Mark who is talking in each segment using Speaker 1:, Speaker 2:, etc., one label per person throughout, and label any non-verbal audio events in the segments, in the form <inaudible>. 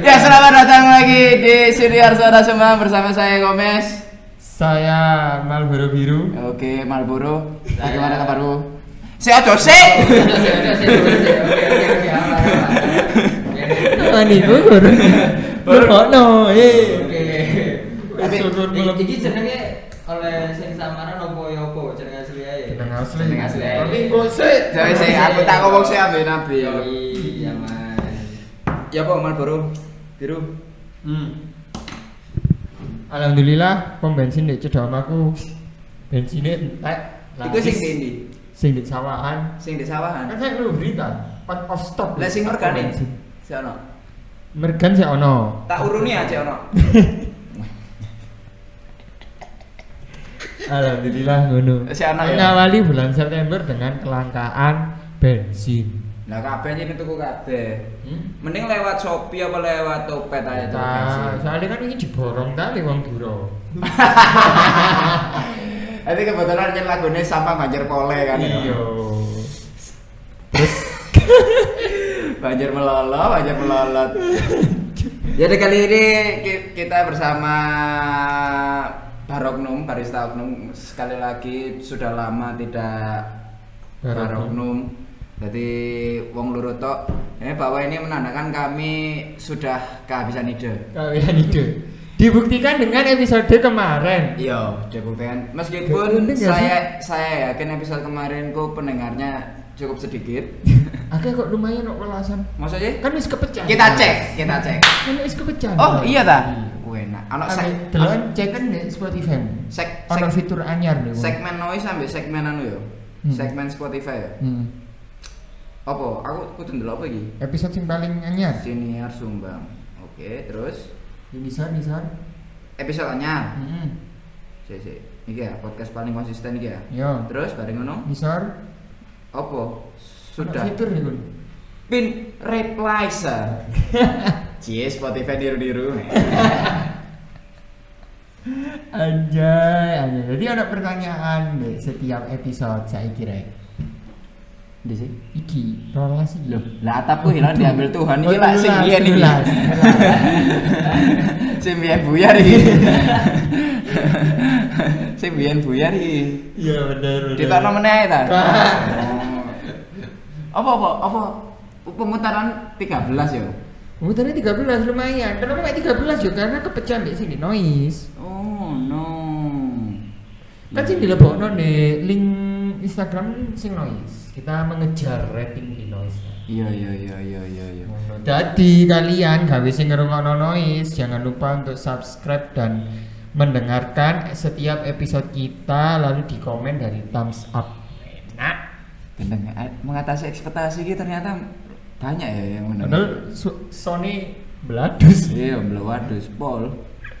Speaker 1: Ya
Speaker 2: <laughs>
Speaker 1: selamat datang lagi di Siniar Suara Semang bersama saya Gomez.
Speaker 3: Saya Marlboro Biru.
Speaker 1: Oke, Marlboro. Nah, Bagaimana kabarmu? Sehat Jose.
Speaker 3: Ani gugur. <laughs> Berkono. Eh.
Speaker 1: Tapi-
Speaker 3: Syukur belum.
Speaker 2: Iki jenenge oleh sing samaran opo ya opo jeneng asli ae.
Speaker 3: Jeneng asli.
Speaker 1: Jeneng asli.
Speaker 3: Tapi kok sih?
Speaker 1: Jadi sih aku tak ngomong sih ambil nabi.
Speaker 2: Yo, Iya, Mas.
Speaker 1: Ya apa Marlboro? Biru.
Speaker 3: Hmm. Alhamdulillah pom bensin di cedam aku. Bensinnya entek.
Speaker 1: Iku sing
Speaker 3: Laris.
Speaker 1: di ndi?
Speaker 3: sing di sawahan.
Speaker 1: Sing di
Speaker 3: Kan
Speaker 1: sawahan.
Speaker 3: saya kan? perlu berita. Pan off stop.
Speaker 1: Lah sing ya? organik.
Speaker 3: Bensin.
Speaker 1: Si ono.
Speaker 3: Mergan sih ono.
Speaker 1: Tak uruni aja ono.
Speaker 3: Alhamdulillah ngono.
Speaker 1: Si ono ya?
Speaker 3: Mengawali bulan September dengan kelangkaan bensin.
Speaker 1: Lah kabeh iki tuku kabeh.
Speaker 3: Hmm?
Speaker 1: Mending lewat Shopee apa lewat Topet aja tuh.
Speaker 3: Nah, soalnya kan ini diborong kali wong duro.
Speaker 1: Nanti kebetulan kan lagunya sama Banjir Pole kan.
Speaker 3: Iya.
Speaker 1: ya. Banjir melolo, banjir melolot. Jadi kali ini ki- kita bersama Baroknum, Barista Oknum sekali lagi sudah lama tidak
Speaker 3: Baroknum.
Speaker 1: Baroknum. Jadi Wong Luruto, eh bahwa ini menandakan kami sudah kehabisan ide.
Speaker 3: Kalian ide. Dibuktikan dengan episode kemarin.
Speaker 1: Iya, debuten. Meskipun
Speaker 3: Debuten ya,
Speaker 1: saya saya yakin episode kemarin ku pendengarnya cukup
Speaker 3: <laughs>
Speaker 1: sedikit.
Speaker 3: Oke kok lumayan kok welasan.
Speaker 1: Maksudnya?
Speaker 3: Kan wis kepecah.
Speaker 1: Kita cek, kita cek.
Speaker 3: Kan wis kepecah.
Speaker 1: Oh iya ta? Enak. Ana sek
Speaker 3: Delon cek kan di Spotify.
Speaker 1: sek
Speaker 3: Ono
Speaker 1: sek-
Speaker 3: fitur anyar nih.
Speaker 1: segmen noise sampai segmen anu yo.
Speaker 3: Hmm.
Speaker 1: Segmen Spotify yo.
Speaker 3: Hmm.
Speaker 1: Apa? Aku kudu ndelok apa iki?
Speaker 3: Episode yang paling anyar.
Speaker 1: Senior Sumbang. Oke, terus
Speaker 3: Ya bisa bisa.
Speaker 1: episode anyar.
Speaker 3: Heeh.
Speaker 1: Sik sik. Iki ya podcast paling konsisten iki ya.
Speaker 3: Yo.
Speaker 1: Terus bareng ngono
Speaker 3: Bisa.
Speaker 1: apa?
Speaker 3: Ono
Speaker 1: Sudah
Speaker 3: fitur nih Gun.
Speaker 1: pin reply sir. <laughs> Cie Spotify diru-diru.
Speaker 3: Anjay, anjay. Jadi ada pertanyaan di setiap episode saya kira.
Speaker 1: Di sih.
Speaker 3: Iki, rolas iki.
Speaker 1: Loh, lah atapku hilang diambil Tuhan iki
Speaker 3: Oh,
Speaker 1: lah sing
Speaker 3: rolas,
Speaker 1: biyen iki. <laughs>
Speaker 3: rolas, rolas.
Speaker 1: Sing biyen buyar iki. Sing biyen buyar
Speaker 3: <laughs>
Speaker 1: iki.
Speaker 3: Iya benar benar.
Speaker 1: Ditokno meneh ae ta. Oh.
Speaker 3: Ah.
Speaker 1: Apa apa apa pemutaran 13 ya.
Speaker 3: Mutarnya 13 lumayan. Kenapa nggak 13 juga? Karena kepecahan di sini noise.
Speaker 1: Oh no.
Speaker 3: Kan
Speaker 1: Hmm.
Speaker 3: sing dilebokno di link Instagram sing noise. Kita mengejar rating di noise.
Speaker 1: Iya iya iya iya iya iya.
Speaker 3: Jadi kalian gawe sing ngrungokno noise, jangan lupa untuk subscribe dan mendengarkan setiap episode kita lalu di komen dari thumbs up. Nah, Enak.
Speaker 1: Bener nggak? mengatasi ekspektasi gitu ternyata banyak ya yang menang.
Speaker 3: Padahal su- Sony beladus
Speaker 1: Iya, belum waduh, Pol.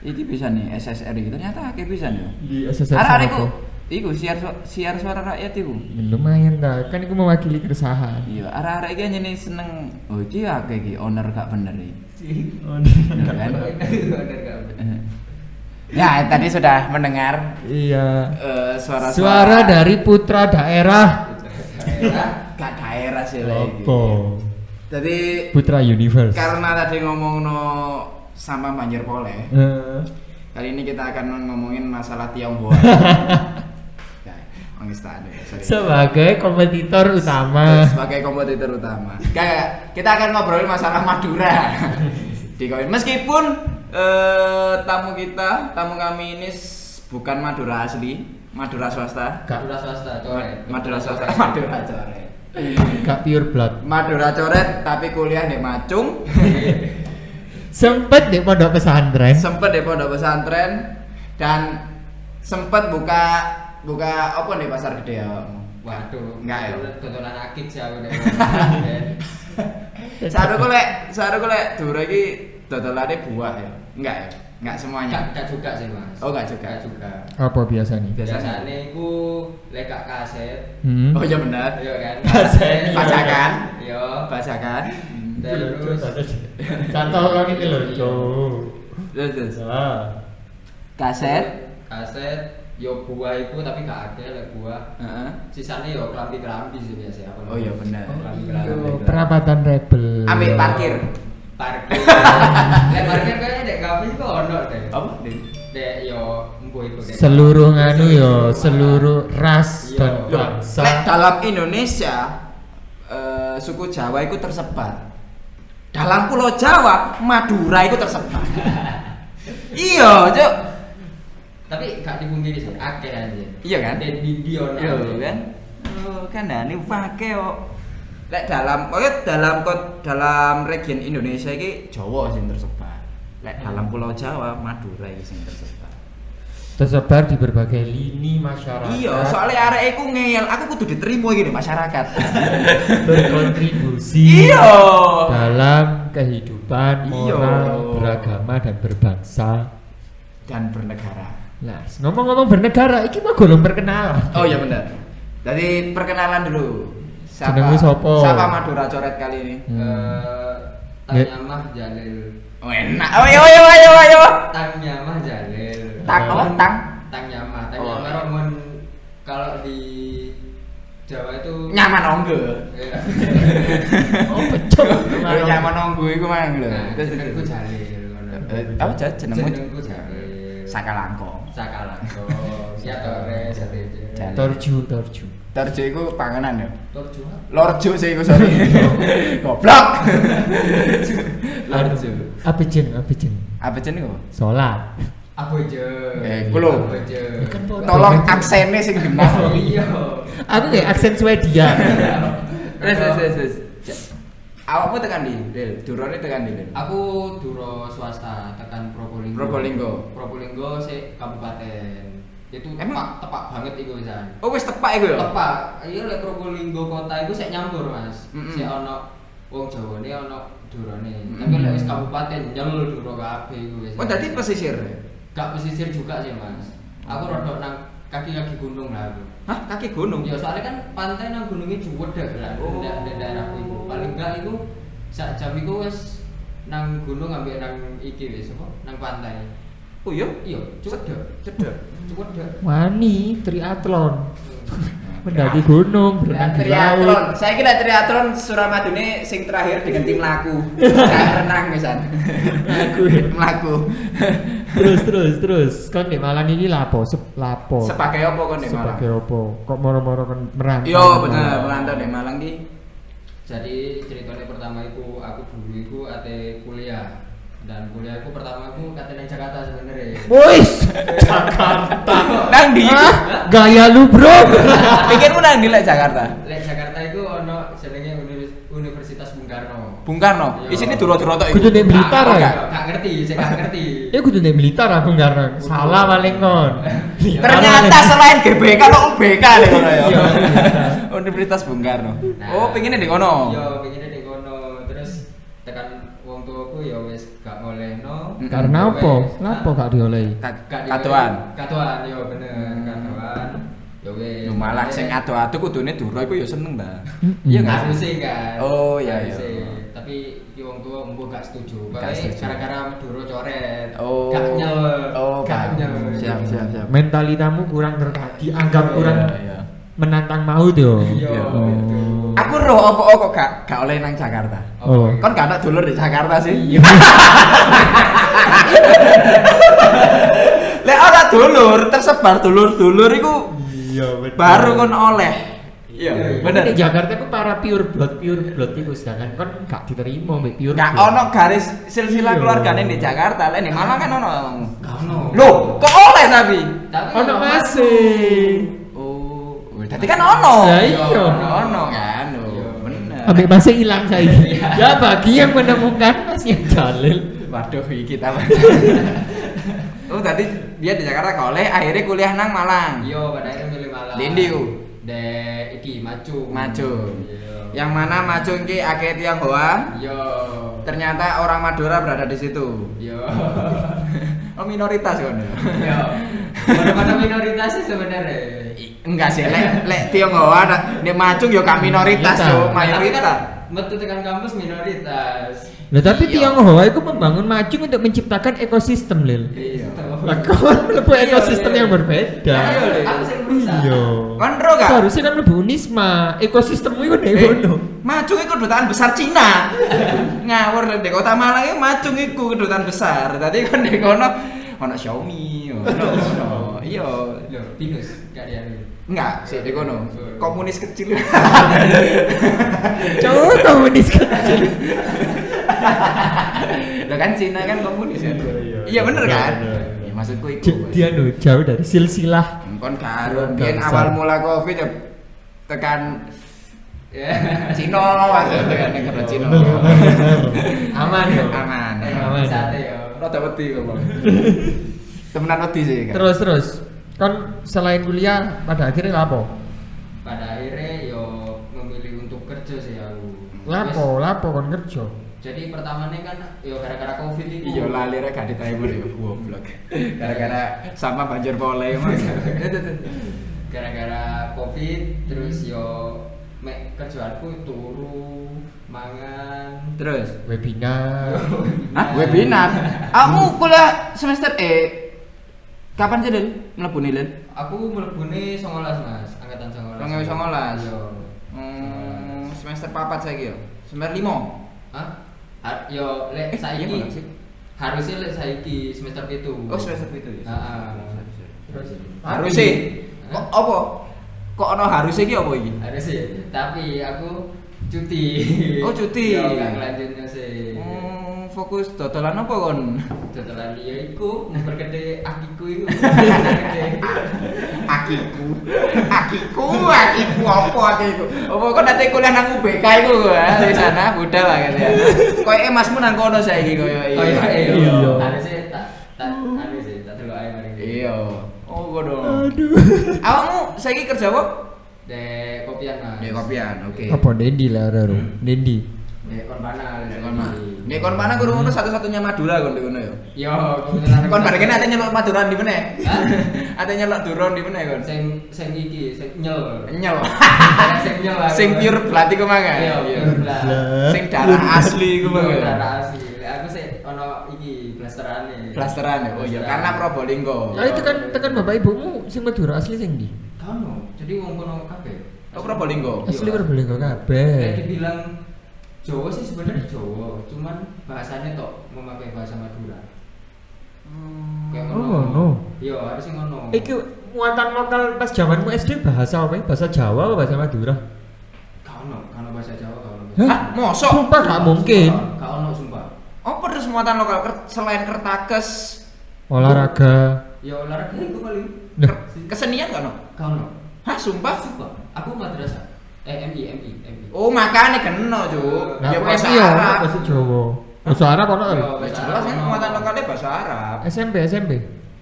Speaker 1: Iki bisa nih SSR iki ternyata akeh bisa ya.
Speaker 3: di SSR.
Speaker 1: Arah iku,
Speaker 3: Singapura.
Speaker 1: iku siar su- siar suara rakyat iku.
Speaker 3: Ya, Lumayan dah, kan itu mewakili keresahan.
Speaker 1: Iya, arah-arah iki anjene seneng. Oh, iki akeh iki owner gak bener iki. Bener kan?
Speaker 2: Bener gak?
Speaker 1: Eh. Ya, tadi sudah mendengar
Speaker 3: Iya.
Speaker 1: eh,
Speaker 3: Suara,
Speaker 1: suara-suara
Speaker 3: dari putra daerah.
Speaker 1: gak daerah sih lah iki.
Speaker 3: Opo.
Speaker 1: Jadi
Speaker 3: Putra Universe.
Speaker 1: karena tadi ngomong no sama banjir pole,
Speaker 3: Eh,
Speaker 1: kali ini kita akan ngomongin masalah Tionghoa.
Speaker 2: <laughs>
Speaker 1: ya, Angis tak ada, sorry.
Speaker 3: sebagai kompetitor utama.
Speaker 1: sebagai kompetitor utama. Kayak kita akan ngobrolin masalah
Speaker 2: <laughs>
Speaker 1: Madura. Di Koin. Meskipun eh, tamu kita, tamu kami ini s- bukan Madura asli, Madura swasta.
Speaker 3: Gak
Speaker 2: Madura swasta, coret.
Speaker 1: Madura swasta, <laughs> Madura coret.
Speaker 3: gak pure blood.
Speaker 1: Madura coret tapi kuliah di Macung,
Speaker 3: Sempet di pondok pesantren.
Speaker 1: sempet di pondok pesantren dan sempet buka buka apa di pasar gede ya.
Speaker 2: Waduh,
Speaker 1: Enggak ya?
Speaker 2: Tontonan akid sih aku.
Speaker 1: Saru lek, saru lek dure iki dodolane buah ya. Enggak ya? Enggak semuanya.
Speaker 2: <laughs> Enggak enggak juga sih, Mas.
Speaker 1: Oh, enggak juga.
Speaker 2: Enggak juga.
Speaker 3: Apa biasa nih?
Speaker 1: Biasanya.
Speaker 2: Biasanya iku lek gak kaset,
Speaker 3: Hmm.
Speaker 1: Oh iya benar.
Speaker 2: yo kan.
Speaker 3: Kaset.
Speaker 1: Bacakan.
Speaker 2: Yo.
Speaker 1: Bacakan.
Speaker 2: Terus
Speaker 3: Contoh kan ini loh,
Speaker 1: Terus, terus.
Speaker 3: Cuk. Ah.
Speaker 1: Kaset.
Speaker 2: kaset yo buah iku tapi gak ada lek buah.
Speaker 1: Heeh.
Speaker 2: Sisanya yo
Speaker 1: iya.
Speaker 2: kelambi-kelambi sih biasanya. apa
Speaker 1: Oh iya benar.
Speaker 2: Kelambi-kelambi.
Speaker 3: Perabatan rebel.
Speaker 1: Ambil parkir.
Speaker 2: parkir. Lek parkir kayaknya dek kafe kok ono deh.
Speaker 1: Apa? Din?
Speaker 2: Dek yo mbuh iku dek.
Speaker 3: seluruh nganu yo seluruh ras
Speaker 2: Iya.
Speaker 3: dan
Speaker 1: Loh, lek
Speaker 3: bangsa
Speaker 1: dalam Indonesia eh, suku Jawa itu tersebar. Dalam Pulau Jawa, Madura itu <laughs> tersebar. iya, Cuk.
Speaker 2: Tapi gak dipungkiri sih akeh aja.
Speaker 1: Iya kan?
Speaker 2: Dek Dindi ono.
Speaker 1: Iya kan? Oh, kan nah, ini pakai kok. Lek dalam pokoknya dalam kon- dalam region Indonesia ini Jawa sih yang tersebar. Lek dalam Pulau Jawa, Madura iki sing tersebar.
Speaker 3: tersebar di berbagai lini masyarakat
Speaker 1: Iya, soalnya arek iku ngeyel, aku kudu diterima iki nih <laughs> masyarakat.
Speaker 3: berkontribusi
Speaker 1: iya.
Speaker 3: dalam kehidupan moral
Speaker 1: Iya.
Speaker 3: beragama dan berbangsa
Speaker 1: Dan bernegara.
Speaker 3: Nah, ngomong-ngomong bernegara, iki mah golong perkenalan.
Speaker 1: Oh iya benar. Jadi perkenalan dulu.
Speaker 3: Jenengmu siapa?
Speaker 1: Siapa Madura coret kali ini?
Speaker 3: Hmm.
Speaker 2: Eh, Tanya Mah Jalil.
Speaker 1: Oh enak. Oh iya iya iya iya.
Speaker 2: Tanya Mah Jalil.
Speaker 1: Tang apa? Tang.
Speaker 2: Tang Nyamah. Tang
Speaker 1: Oh.
Speaker 2: Nyamah Roman kalau di Jawa itu <laughs>
Speaker 1: Nyaman onggo.
Speaker 2: Iya.
Speaker 3: Oh,
Speaker 1: <laughs>
Speaker 3: pecok.
Speaker 1: Yo nyaman onggo iku mang lho.
Speaker 2: Nah,
Speaker 1: Terus
Speaker 2: jenengku
Speaker 1: terus.
Speaker 2: Jalil.
Speaker 1: Eh, Apa Jan? jenengmu?
Speaker 2: Jenengku Jalil.
Speaker 1: Sakalangkong.
Speaker 2: Sakalangko, Siatore, Jatete.
Speaker 1: Jalil.
Speaker 3: Torju, torju.
Speaker 1: Torjo iku panganan ya.
Speaker 2: Torjo.
Speaker 1: Lorjo sih iku <laughs> sorry. Goblok. Lorjo.
Speaker 3: Apa jen, apa jen?
Speaker 1: Apa jenenge? apa?
Speaker 3: Sholat.
Speaker 2: Aboje.
Speaker 1: Eh, kulo.
Speaker 2: Aboje.
Speaker 3: Ya kan, Pak.
Speaker 1: Tolong aksennya sing genah. <laughs>
Speaker 2: Oh, Iya.
Speaker 3: Aku
Speaker 1: Iya.
Speaker 3: kayak aksen Swedia.
Speaker 1: Wes wes wes wes. Ya. Awakmu tekan di, Lil. Durone tekan di, Lil.
Speaker 2: Aku duro swasta tekan Probolinggo.
Speaker 1: Probolinggo.
Speaker 2: Probolinggo sih kabupaten. Itu
Speaker 1: Emang-
Speaker 2: tepak tepak banget iku pisan.
Speaker 1: Oh wis tepak iku ya.
Speaker 2: Tepak. Iya lek Probolinggo kota iku sik nyampur, Mas.
Speaker 1: Mm-mm.
Speaker 2: Sik ono wong Jawane ono durone.
Speaker 1: Mm-mm.
Speaker 2: Tapi lek wis kabupaten nyel duro kabeh iku wis.
Speaker 1: Oh dadi pesisir.
Speaker 2: gak pesisir juga sih mas aku rodok nang kaki-kaki gunung lah aku
Speaker 1: Hah, kaki gunung.
Speaker 2: ya soalnya kan pantai nang gunungnya cuwet dah lah
Speaker 1: Oh.
Speaker 2: ndak ndak daerahku itu paling enggak itu sak jam itu wes nang gunung ambil nang iki wes apa nang pantai
Speaker 1: Oh iya.
Speaker 2: iya cuwet dah
Speaker 1: Cedek.
Speaker 2: cuwet dah
Speaker 3: Wani, triathlon. Mendaki gunung, berenang
Speaker 1: Ya.
Speaker 3: di laut.
Speaker 1: Iya. Triathlon. Saya kira triathlon Suramadune sing terakhir dengan tim
Speaker 3: <laughs>
Speaker 1: laku. Saya renang pisan. <laughs>
Speaker 3: Melaku.
Speaker 1: Melaku.
Speaker 3: Terus, terus, terus. Kan di Malang ini lapo, sep, lapo.
Speaker 1: Sebagai apa kon di Malang?
Speaker 3: Oh. Sebagai opo. Kok moro-moro kan merantau.
Speaker 1: Yo bener, merantau di Malang
Speaker 3: <laughs>
Speaker 1: ki.
Speaker 2: jadi ceritanya pertama itu aku dulu itu ate kuliah dan kuliah aku pertama aku katanya nang Jakarta sebenarnya
Speaker 3: Wis, Jakarta.
Speaker 1: Nang di.
Speaker 3: Ah, gaya lu bro.
Speaker 1: Pikirmu nang di lek Jakarta.
Speaker 2: Lek Jakarta itu ono jenenge Univers- Universitas Bung Karno.
Speaker 1: Bung Karno.
Speaker 2: Iya.
Speaker 1: Isine duro-duro tok
Speaker 3: Kudu
Speaker 1: iku.
Speaker 3: di Blitar
Speaker 2: Gak-
Speaker 3: ya.
Speaker 2: gak- Gak ngerti, saya gak ngerti.
Speaker 3: Ya kudu nek militer aku ngarep.
Speaker 2: Kudu.
Speaker 3: Salah paling kon.
Speaker 1: Ternyata selain GBK lo UBK deh kono ya.
Speaker 3: Ya. Iya.
Speaker 1: Universitas Bung Karno.
Speaker 2: Nah, Iya.
Speaker 1: Oh, pengennya di kono.
Speaker 2: Yo, pengennya di kono. Terus tekan wong tuaku ya wis gak olehno.
Speaker 1: Mm.
Speaker 3: karena
Speaker 2: Wes,
Speaker 3: apa?
Speaker 2: nah,
Speaker 3: Lapo gak diolehi?
Speaker 1: Ka-
Speaker 2: gak di-
Speaker 1: Katuan.
Speaker 2: Katuan yo bener, katuan. Ya Yo wes.
Speaker 1: Yo malah sing
Speaker 2: Makanya-
Speaker 1: ado-ado kudune duro iku yo seneng ta.
Speaker 3: Mm-mm.
Speaker 1: Iya enggak?
Speaker 2: Harusnya kan.
Speaker 1: Oh, iya, iya.
Speaker 2: Harusnya. Tapi ki wong tua mbuh gak setuju.
Speaker 1: Gak
Speaker 2: Pakai
Speaker 1: setuju.
Speaker 2: gara-gara Maduro coret.
Speaker 1: Oh.
Speaker 2: Gak nyel.
Speaker 1: Oh,
Speaker 2: gak
Speaker 1: paham.
Speaker 2: nyel.
Speaker 1: Siap, siap, siap.
Speaker 3: Mentalitamu kurang terkati, anggap kurang
Speaker 1: Iya, iya.
Speaker 3: menantang maut yo.
Speaker 2: Iya,
Speaker 3: Oh.
Speaker 2: gitu.
Speaker 1: Aku roh apa oh, kok gak gak oleh nang Jakarta.
Speaker 3: Oh.
Speaker 1: Kon gak ada dulur di Jakarta
Speaker 2: Iya.
Speaker 1: sih. Lek ora dulur, tersebar dulur-dulur iku
Speaker 3: Iya, bener.
Speaker 1: baru kon oleh. Iya,
Speaker 2: Iya,
Speaker 1: bener.
Speaker 3: Di Jakarta ku para pure blood, pure blood iku sedangkan kon gak diterima mbek pure.
Speaker 1: Gak
Speaker 3: blood.
Speaker 1: ono garis silsilah
Speaker 3: Iya.
Speaker 1: keluargane di Jakarta, lek di Malang kan ono.
Speaker 2: Gak ono.
Speaker 1: Loh, kok oleh tapi?
Speaker 2: Tapi
Speaker 3: Ono
Speaker 2: ya,
Speaker 3: masih.
Speaker 1: Oh, tadi kan ono.
Speaker 3: Ya iya.
Speaker 1: Ono kan. oh,
Speaker 2: Iya.
Speaker 1: Bener.
Speaker 3: Ambek masih hilang saya.
Speaker 1: Iya.
Speaker 3: ya bagi yang menemukan masih Jalil.
Speaker 1: Waduh, iki kita. oh, tadi dia di Jakarta kau oleh akhirnya kuliah nang Malang.
Speaker 2: Iya, pada akhirnya milih Malang.
Speaker 1: Dendi, U.
Speaker 2: De iki Macung.
Speaker 1: Macung.
Speaker 2: Iya.
Speaker 1: Yang mana Macung ki akeh Tionghoa.
Speaker 2: Yo.
Speaker 1: Ternyata orang Madura berada di situ.
Speaker 2: <laughs> Yo.
Speaker 1: Oh, minoritas kan.
Speaker 2: Yo. Mana-mana Iya. minoritas sih sebenarnya.
Speaker 1: I- Enggak sih, lek lek Tionghoa nah, di Macung yo gak minoritas
Speaker 3: Minoritas.
Speaker 1: yo,
Speaker 2: Tapi kan
Speaker 1: mayoritas.
Speaker 2: Metu tekan kampus minoritas.
Speaker 3: Nah, tapi
Speaker 1: Iya.
Speaker 3: Tionghoa itu membangun macung untuk menciptakan ekosistem, Lil.
Speaker 1: Iya.
Speaker 2: <laughs>
Speaker 3: Lah kon mlebu
Speaker 2: Iya,
Speaker 3: ekosistem
Speaker 2: iya.
Speaker 3: yang berbeda.
Speaker 2: Iya, iya. Aku sing rusak.
Speaker 3: Iya.
Speaker 1: Kon ro gak?
Speaker 3: Seharusnya kan mlebu Unisma, ekosistemmu iku nek
Speaker 1: Eh,
Speaker 3: ngono. <laughs>
Speaker 1: Macung itu kedutaan besar Cina. ngawur di kota Malang itu macung iku kedutaan besar. Tadi kan di kono ono Xiaomi, ono ono. Iya.
Speaker 2: Loh, Pinus, gak ada yang ini.
Speaker 1: Enggak, sih di kono. Komunis kecil. <laughs>
Speaker 3: Cowok komunis <laughs> kan.
Speaker 1: Lah kan Cina kan komunis ya.
Speaker 4: Iya, iya.
Speaker 1: Iya bener
Speaker 3: Iya,
Speaker 1: kan?
Speaker 4: bener, bener.
Speaker 1: Ya maksudku iku.
Speaker 3: J- Dia no, jauh dari silsilah.
Speaker 1: Kon karo
Speaker 3: Kon
Speaker 1: biyen
Speaker 3: bangsa.
Speaker 1: awal mula Covid ya tekan
Speaker 2: Ya. <laughs>
Speaker 1: Cina maksudnya tekan negara Cina.
Speaker 3: Bener, bener.
Speaker 2: Aman yo.
Speaker 1: Aman.
Speaker 3: Aman.
Speaker 2: Sate Iya, yo.
Speaker 1: Rada wedi kok.
Speaker 3: <laughs>
Speaker 1: Bang. Temenan wedi sih kan.
Speaker 3: Terus terus. Kan selain kuliah pada akhirnya lapo?
Speaker 2: Pada akhirnya yo memilih untuk kerja sih aku. Wes,
Speaker 3: Lapo, lapo kon kerja.
Speaker 2: Jadi pertamanya kan yo gara-gara Covid itu.
Speaker 1: Iya lali rek gak ditaimu ya goblok. Gara-gara sama banjir pole ya, mas.
Speaker 2: gara-gara covid
Speaker 3: Hmm.
Speaker 2: terus yo mek kerjaanku turu mangan
Speaker 1: Terus
Speaker 3: Webinar.
Speaker 1: Hah? Webinar.
Speaker 2: <laughs>
Speaker 1: Kamu kuliah semester E. Kapan sih Del? Mlebu nih Del?
Speaker 2: aku melebuni songolas mas angkatan songolas
Speaker 1: 2019.
Speaker 2: yo
Speaker 1: Hmm, semester papat saya gitu. Semester lima.
Speaker 2: Hah? Har- yo lek
Speaker 1: Eh, Iya,
Speaker 2: saiki
Speaker 1: bukan sih?
Speaker 2: harusnya lek saiki semester itu
Speaker 1: Oh semester itu ya.
Speaker 2: Heeh.
Speaker 3: Terus
Speaker 1: Harus sih. Kok apa? Kok ono harus iki apa iki?
Speaker 2: harus sih tapi aku cuti
Speaker 1: Oh, cuti.
Speaker 2: yo gak ngelanjutnya sih
Speaker 1: Hmm, fokus dodolan apa kon?
Speaker 2: Dodolan dia iku bergede akiku
Speaker 1: <laughs>
Speaker 2: iku.
Speaker 1: Akiku, akiku, akiku apa akiku? Apa kok nanti kuliah nang UBK iku ah, di sana budal lah kan ya. Koyoke masmu nang kono saiki koyo iki.
Speaker 2: Oh iya,
Speaker 3: Iya.
Speaker 2: iya. Ada sih tak tak ada sih tak delok ae mari.
Speaker 1: Iya. Oh bodoh.
Speaker 3: Aduh.
Speaker 1: Awakmu saiki kerja apa?
Speaker 2: Dek kopian Mas.
Speaker 1: Dek kopian, oke.
Speaker 3: Apa Dendi lah Roro? Dendi.
Speaker 2: Dek kon panal.
Speaker 1: Nek kon mah. Nek kon mana kurang ngono satu-satunya Madura kon di kono ya.
Speaker 2: Yo, kebetulan aku-
Speaker 1: Kon bareng kene ate nyelok Maduran di meneh.
Speaker 2: Hah?
Speaker 1: Ate nyelok Duron di meneh kon.
Speaker 2: sing sing iki sing nyel.
Speaker 1: <laughs> Nyel.
Speaker 2: Sing nyel. aku.
Speaker 1: Sing pure blood iku mangan.
Speaker 2: Iya, pure blood.
Speaker 1: Sing darah asli iku
Speaker 2: Yo,
Speaker 1: mangan.
Speaker 2: darah asli. Lek Aku sih ono iki e. blasterane.
Speaker 1: Blasteran ya. Oh iya, karena Probolinggo.
Speaker 3: Lah itu kan tekan bapak ibumu sing Madura asli sing ndi?
Speaker 2: Kono. Jadi wong kono kabeh.
Speaker 1: Oh Probolinggo.
Speaker 3: Asli Probolinggo
Speaker 2: Kayak
Speaker 3: kabeh.
Speaker 2: dibilang Jawa sih sebenarnya Jawa, cuman bahasanya tok memakai bahasa Madura.
Speaker 1: Hmm.
Speaker 2: Kayak
Speaker 3: Oh,
Speaker 2: ngono.
Speaker 3: ngono. Eh,
Speaker 2: Iya, harusnya ngono.
Speaker 3: Iki muatan lokal pas zamanmu SD bahasa apa? ya? Bahasa Jawa apa bahasa Madura?
Speaker 2: Kano, kano bahasa Jawa kano.
Speaker 3: Hah?
Speaker 1: Hah, mosok?
Speaker 3: Sumpah gak mungkin.
Speaker 2: Kano sumpah.
Speaker 1: Oh, terus muatan lokal Ker- selain kertakes,
Speaker 3: Olahraga.
Speaker 2: Ya olahraga itu paling
Speaker 3: Nah,
Speaker 1: ker- kesenian kan? no?
Speaker 2: kano.
Speaker 1: Hah, sumpah?
Speaker 2: Sumpah. Aku madrasah. Eh MI MI MI.
Speaker 1: Oh, makane kena, Cuk.
Speaker 3: nah
Speaker 1: Ya
Speaker 3: kok
Speaker 1: bahasa
Speaker 3: iki ya ono bahasa
Speaker 1: Arab.
Speaker 3: Jawa. Bahasa Arab ono kan?
Speaker 1: Ya jelas kan muatan lokalnya bahasa Arab.
Speaker 3: SMP, SMP.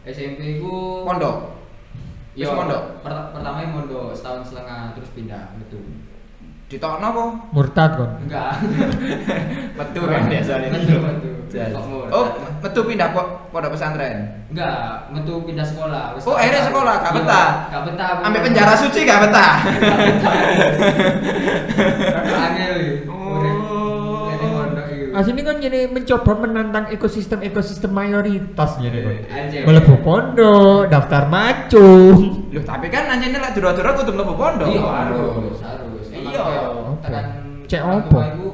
Speaker 2: SMP ku ya,
Speaker 1: Pondok.
Speaker 2: Yo,
Speaker 1: Wis mondok?
Speaker 2: per- pertama mondok setahun setengah terus pindah betul.
Speaker 1: Ditokno apa?
Speaker 3: Murtad kon.
Speaker 1: <laughs>
Speaker 2: Enggak.
Speaker 1: Metu kan biasanya.
Speaker 2: Metu, metu.
Speaker 1: Jelas.
Speaker 2: Makmur.
Speaker 1: Oh, metu pindah po- pondok pesantren.
Speaker 2: Enggak, metu pindah sekolah. Wis
Speaker 1: Oh,
Speaker 2: tak
Speaker 1: akhirnya
Speaker 2: betah.
Speaker 1: sekolah, gak
Speaker 2: Iya,
Speaker 1: betah.
Speaker 2: Gak betah. aku.
Speaker 1: Ambil penjara suci gak betah.
Speaker 2: Rada Angel.
Speaker 1: Oh.
Speaker 2: Jadi iya. mondok iki.
Speaker 3: Asline kan jadi mencoba menantang ekosistem-ekosistem mayoritas jadi kon.
Speaker 2: Anjir.
Speaker 3: Melebu pondok, daftar macung.
Speaker 1: Loh, tapi kan anjene lek dura-dura kudu mlebu pondok.
Speaker 2: Iya, harus, harus. Emang
Speaker 1: Iya.
Speaker 2: kayak
Speaker 3: Apa?
Speaker 2: Tekan
Speaker 3: Cek
Speaker 2: orang
Speaker 3: apa?
Speaker 2: tua iku,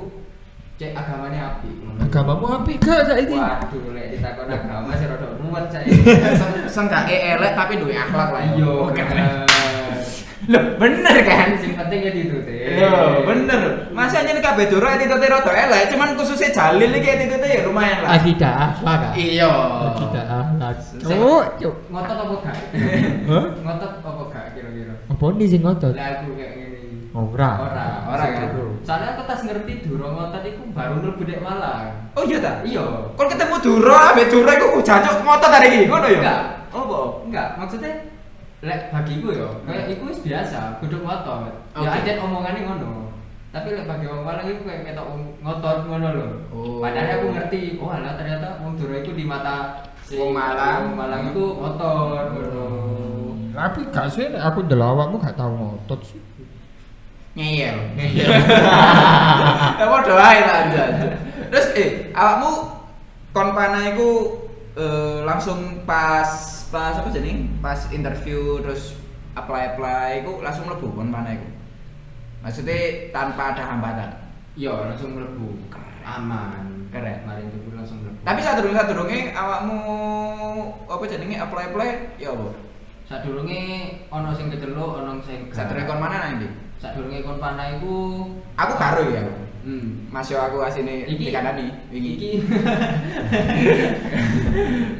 Speaker 2: Cek agamanya api.
Speaker 3: Agamamu apa gak saiki?
Speaker 2: Waduh, lek ditakon agama sih rada Iya, ruwet
Speaker 3: <laughs>
Speaker 2: cek.
Speaker 1: Sengkake elek tapi duwe akhlak lah. ya.
Speaker 2: Iya,
Speaker 1: Oh,
Speaker 2: kan.
Speaker 1: keren. Loh, bener kan?
Speaker 2: Sing penting ya
Speaker 1: Loh,
Speaker 2: ditutup.
Speaker 1: Iya, bener. Masa anjene kabeh dura attitude rada elek, cuman khususnya Jalil iki attitude ya lumayan lah.
Speaker 3: Akidah akhlak. Kak.
Speaker 1: Iya.
Speaker 3: Akidah akhlak. Cuk, cuk.
Speaker 2: Ngotot apa gak?
Speaker 3: Hah?
Speaker 2: Ngotot apa gak kira-kira?
Speaker 3: Apa ini sing ngotot? Ah.
Speaker 2: Lah aku kayak ngene.
Speaker 3: Ora.
Speaker 2: Ora,
Speaker 1: Ora kan?
Speaker 2: Soalnya aku tas ngerti durung ngotot iku baru mlebu dek Malang.
Speaker 1: Oh iya ta?
Speaker 2: Iya.
Speaker 1: Kon ketemu Dura, ambek Dura iku oh, jancuk ngotot hari iki, ngono ya?
Speaker 2: Enggak.
Speaker 1: Opo?
Speaker 2: Enggak, maksudnya lek bagiku ya, kayak iku wis biasa, guduk ngotot. Ya
Speaker 1: Oke.
Speaker 2: aja omongane ngono. Tapi lek bagi wong Malang iku kayak ketok wong ngotot ngono lho.
Speaker 1: Oh.
Speaker 2: Padahal aku ngerti, oh alah ternyata wong Dura iku di mata si
Speaker 1: Wong Malang. Hmm.
Speaker 2: wong Malang iku ngotot ngono.
Speaker 3: Tapi gak sih nek aku delawakmu gak tau ngotot sih.
Speaker 1: Ngeyel. Ngeyel.
Speaker 2: <laughs>
Speaker 1: Ya padha ae lah anjay. Terus eh awakmu kon panah iku eh, langsung pas pas apa jeneng? Pas interview terus apply-apply iku langsung mlebu kon panah iku. Maksudnya tanpa ada hambatan.
Speaker 2: Iya, langsung mlebu. aman
Speaker 1: Keren.
Speaker 2: mari dulu langsung mlebu
Speaker 1: Tapi saat durung saat durunge awakmu apa jenenge apply apply ya apa?
Speaker 2: sadurunge ana sing keceluk ana sing gak.
Speaker 1: Saat durunge kon mana nanti?
Speaker 2: sadurunge kon panah iku
Speaker 1: Aku karo ya.
Speaker 2: hmm
Speaker 1: Mas yo aku asine
Speaker 2: Iki.
Speaker 1: di kandani wingi. <laughs>
Speaker 2: iki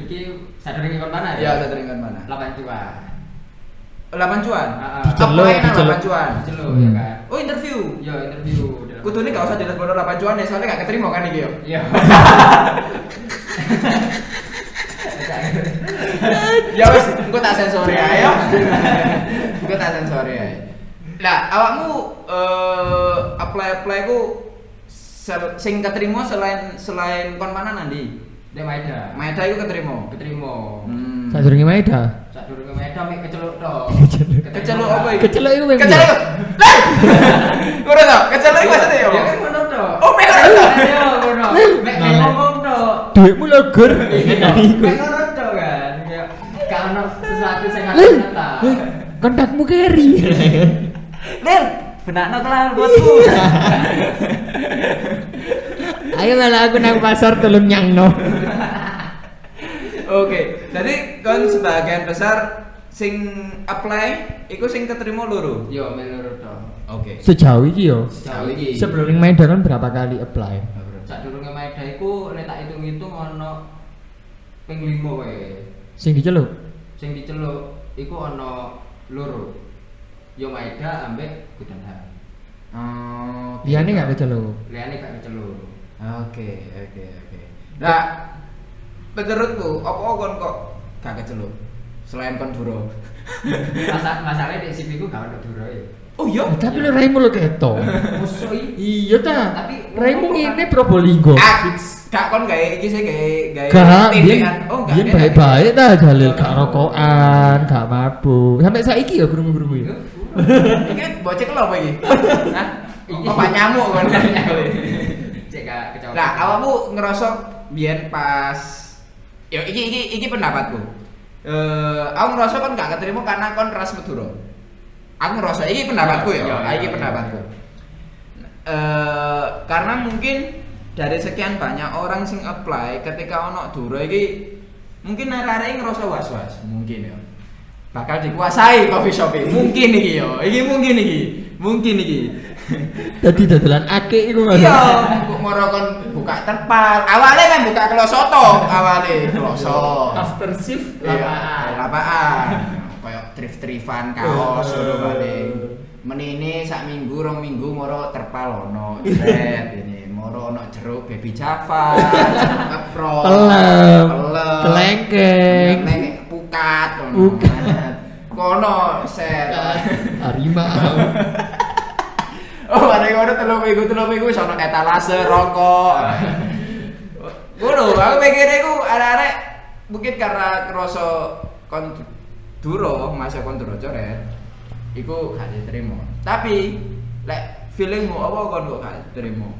Speaker 2: iki sadurunge kon panah
Speaker 1: Ya saat durunge kon mana?
Speaker 2: lapan dua
Speaker 1: Lapan cuan.
Speaker 2: Ah, ah.
Speaker 3: Diceluk,
Speaker 1: Apply nang
Speaker 3: diceluk.
Speaker 1: lapan cuan.
Speaker 2: keceluk ya
Speaker 3: Hmm.
Speaker 2: kan
Speaker 1: Oh interview.
Speaker 2: yo interview dalam-
Speaker 1: Kudune gak usah jelas bodoh lapan cuan ya soalnya gak keterima kan iki yo. <laughs>
Speaker 2: iya
Speaker 1: ya wes, gue tak sensor ya, ayo. gue tak sensor ya. Nah, awakmu eh apply apply ku sel- sing keterima selain selain kon mana nanti?
Speaker 2: dia maeda
Speaker 1: Maeda itu keterima.
Speaker 2: keterima
Speaker 1: Hmm.
Speaker 3: Sadurunge maeda.
Speaker 2: sadurunge maeda mek keceluk tok
Speaker 3: Keceluk.
Speaker 2: Keterima.
Speaker 1: Keceluk apa iki?
Speaker 3: Keceluk iku memang.
Speaker 1: Keceluk. Lah. <laughs> Ngono to, keceluk iku maksudnya yo.
Speaker 2: Ya kan ngono tok.
Speaker 1: Oh, mek ngono tok.
Speaker 2: Ayo ngono. Mek mek
Speaker 3: Nah.
Speaker 2: ngomong tok.
Speaker 3: Duitmu <laughs> logur.
Speaker 2: Iki tok. Mek ngono tok kan. Ya gak ono sesuatu sing aku nata.
Speaker 3: Kontakmu keri.
Speaker 1: Lil, benakno kelar buatku.
Speaker 3: <laughs> Ayo malah aku nang pasar tolong nyangno.
Speaker 1: Oke, jadi kon sebagian besar sing apply iku sing keterima loro.
Speaker 2: Yo menurut tok.
Speaker 1: Oke.
Speaker 3: Sejauh ini yo.
Speaker 2: Sejauh iki.
Speaker 3: Sebelum maeda kan berapa kali apply?
Speaker 2: Sadurunge maeda iku nek tak hitung-hitung ono ping 5 wae.
Speaker 3: Sing diceluk.
Speaker 2: Sing diceluk iku ono loro. Yo maeda ambek gudanha.
Speaker 1: Oh,
Speaker 3: Liyane gak keceluk.
Speaker 2: Liyane gak keceluk.
Speaker 1: Oke, oke, oke. Nah, menurutku opo kon kok gak keceluk? Selain kon buro.
Speaker 2: Masa masalahnya di sini ku gak ono duro e. ya.
Speaker 1: Oh iya.
Speaker 3: Eh, Tapi lo raimu lo keto.
Speaker 2: Musuh iki
Speaker 3: Iya ta.
Speaker 2: Tapi-
Speaker 3: Raimu ngene Probolinggo.
Speaker 1: Ah, gak kon gawe iki sih gawe gawe
Speaker 3: Gak,
Speaker 1: ini
Speaker 3: biyen
Speaker 1: kan. Oh, gak.
Speaker 3: biyen
Speaker 1: enak.
Speaker 3: baik-baik ta Jalil gak rokokan, gak mabuk. Sampai saiki ya gurung-gurung ya.
Speaker 1: Iki bocek lo apa iki? Hah?
Speaker 2: Iki.
Speaker 1: Apa nyamuk kon?
Speaker 2: Cek gak keceluk.
Speaker 1: Nah, awakmu ngerasa biyen pas Yo, iki iki iki pendapatku. Eh, aku ngerasa kon gak keterima karena kon ras Madura. Aku ngerasa iki pendapatku ya.
Speaker 2: Iya, iya,
Speaker 1: iki
Speaker 2: iya.
Speaker 1: pendapatku. Eh, karena mungkin dari sekian banyak orang sing apply ketika ono Dura iki mungkin arek-arek ngerasa was-was, mungkin ya. Bakal dikuasai coffee shop ini. Mungkin iki yo. Iki mungkin iki. Mungkin iki. <laughs>
Speaker 3: Dadi dadolan akeh iku Mas.
Speaker 1: Iya, mbok moro kon buka terpal. Awalnya kan buka kloso to, awalnya kloso.
Speaker 3: After shift
Speaker 1: Iya, lapaan. Kayak drift-driftan kaos ngono paling. Menine sak minggu, rong minggu moro terpal
Speaker 3: <laughs>
Speaker 1: ono. Set ini moro ono jeruk baby java, jeruk keprok,
Speaker 3: Pelem,
Speaker 1: pelem,
Speaker 3: kelengkeng.
Speaker 1: kelengkeng, pukat ono.
Speaker 3: Pukat.
Speaker 1: Kono set.
Speaker 3: <laughs> Arima.
Speaker 1: Oh, ada yang ngono telu minggu, telu minggu wis ana etalase
Speaker 2: <laughs>
Speaker 1: rokok. Ngono, aku pikirnya iku arek-arek mungkin karena kerasa kon duro, masa kon duro coret. Iku gak diterima. Tapi lek feelingmu apa kon kok gak diterima?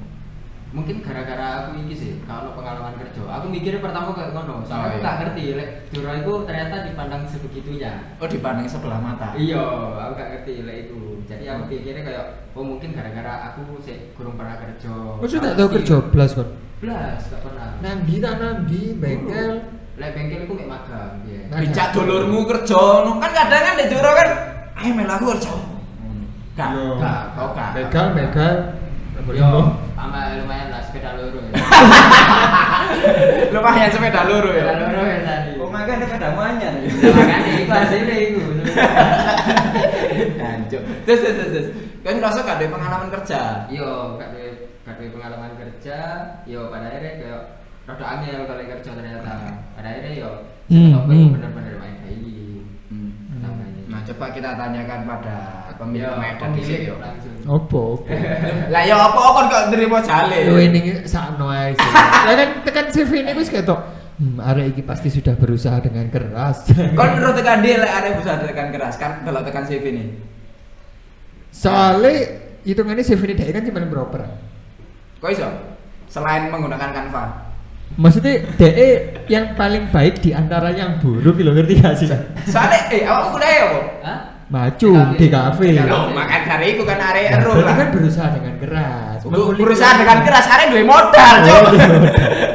Speaker 2: mungkin gara-gara aku iki sih kalau pengalaman kerja aku mikirnya pertama kayak
Speaker 1: Oh,
Speaker 2: ngono soalnya aku
Speaker 1: iya.
Speaker 2: gak ngerti lek Dora itu ternyata dipandang sebegitunya
Speaker 1: Oh, dipandang sebelah mata.
Speaker 2: iya aku gak ngerti lek itu jadi aku
Speaker 1: Hmm.
Speaker 2: pikirnya kayak oh mungkin gara-gara aku sih kurang pernah kerja
Speaker 3: Wis tak tau Oh, kerja blas kon.
Speaker 2: belas gak pernah
Speaker 3: Nang ndi ta nang ndi bengkel?
Speaker 2: lek bengkel aku gak magang ya
Speaker 3: Nah.
Speaker 1: Dijak dulurmu kerja ngono. Kan kadang kan di duro kan, ayo melu aku kerja. Gak,
Speaker 3: Yo.
Speaker 1: gak, kok gak.
Speaker 3: Begal, begal.
Speaker 2: yo sama Iya, lumayan lah sepeda loro ya
Speaker 1: Lumayan sepeda loro
Speaker 2: sepeda
Speaker 1: ya.
Speaker 2: loro ya tadi
Speaker 1: Oh, makanya sepeda anyar ya.
Speaker 2: Ya, makanya itu hasilnya itu
Speaker 1: Hancur. Terus terus terus, terus. Kan ngerasa gak ada pengalaman kerja.
Speaker 2: yo Iya, gak duwe gak duwe pengalaman kerja yo pada akhirnya kayak rada angel kalau kerja ternyata pada akhirnya yo
Speaker 3: Hmm,
Speaker 2: apa
Speaker 3: hmm.
Speaker 2: bener-bener main bayi namanya
Speaker 1: Nah, coba kita tanyakan pada Nah, pemilik
Speaker 2: Yo,
Speaker 1: Medan di
Speaker 2: pemilik
Speaker 1: sini.
Speaker 2: langsung
Speaker 3: Oh. Opo, opo.
Speaker 1: Lah ya apa kon kok nerima jale?
Speaker 3: Lu ini sakno ae sih. Lah kan tekan CV ini wis ketok. Hmm, arek iki pasti sudah berusaha dengan keras.
Speaker 1: Kon terus tekan dia lek arek bisa tekan keras kan delok tekan CV ini.
Speaker 3: Soalnya hitungannya CV ini dia kan cuma beroper.
Speaker 1: Kok iso? Selain menggunakan Canva.
Speaker 3: Maksudnya e DE
Speaker 1: Iya.
Speaker 3: yang paling baik di antara yang buruk lo ngerti gak sih? Cak?
Speaker 1: Soalnya eh awakmu kuliah ya, Bu?
Speaker 2: Hah?
Speaker 3: maju di kafe.
Speaker 1: Loh, makan dari itu kan area
Speaker 3: Nah,
Speaker 1: ero
Speaker 3: berarti kan
Speaker 1: lah.
Speaker 3: berusaha dengan keras.
Speaker 1: Bu-
Speaker 3: Mengkuliti-
Speaker 1: Berusaha dengan keras, area duwe modal,
Speaker 3: Oh,
Speaker 1: coba.
Speaker 3: kan iya.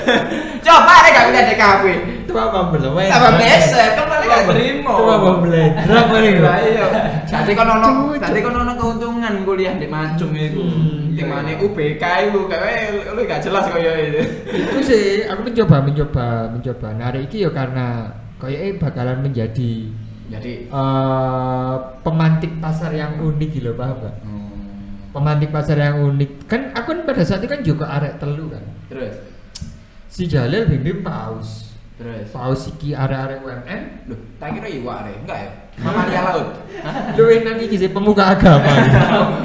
Speaker 1: <laughs> Coba area gak punya di kafe.
Speaker 3: Itu apa belum?
Speaker 1: Tambah besek, kan malah gak terima.
Speaker 3: Itu apa beledrak paling
Speaker 1: Iya,
Speaker 3: gak?
Speaker 1: <laughs> iya. Jadi kan ono,
Speaker 3: Cucu.
Speaker 1: jadi kan ono keuntungan kuliah di Macung itu.
Speaker 3: Hmm,
Speaker 1: Di
Speaker 2: iya.
Speaker 1: mana UBK itu, kayak "Eh, lu gak jelas ya kaya itu.
Speaker 3: Itu sih aku mencoba mencoba mencoba narik iki ya karena kayaknya bakalan menjadi
Speaker 1: <laughs> Jadi
Speaker 3: eh, pemantik pasar yang unik gitu loh paham gak?
Speaker 1: hmm,
Speaker 3: Pemantik pasar yang unik kan aku kan pada saat itu kan juga arek telu kan.
Speaker 1: terus
Speaker 3: Si Jalil bimbing paus.
Speaker 1: terus
Speaker 3: Paus iki arek-arek UMM
Speaker 1: Loh, tak kira iwak deh, enggak ya? Mama dia <laughs> laut.
Speaker 3: lu enak iki sih pemuka
Speaker 1: <laughs>
Speaker 3: agama.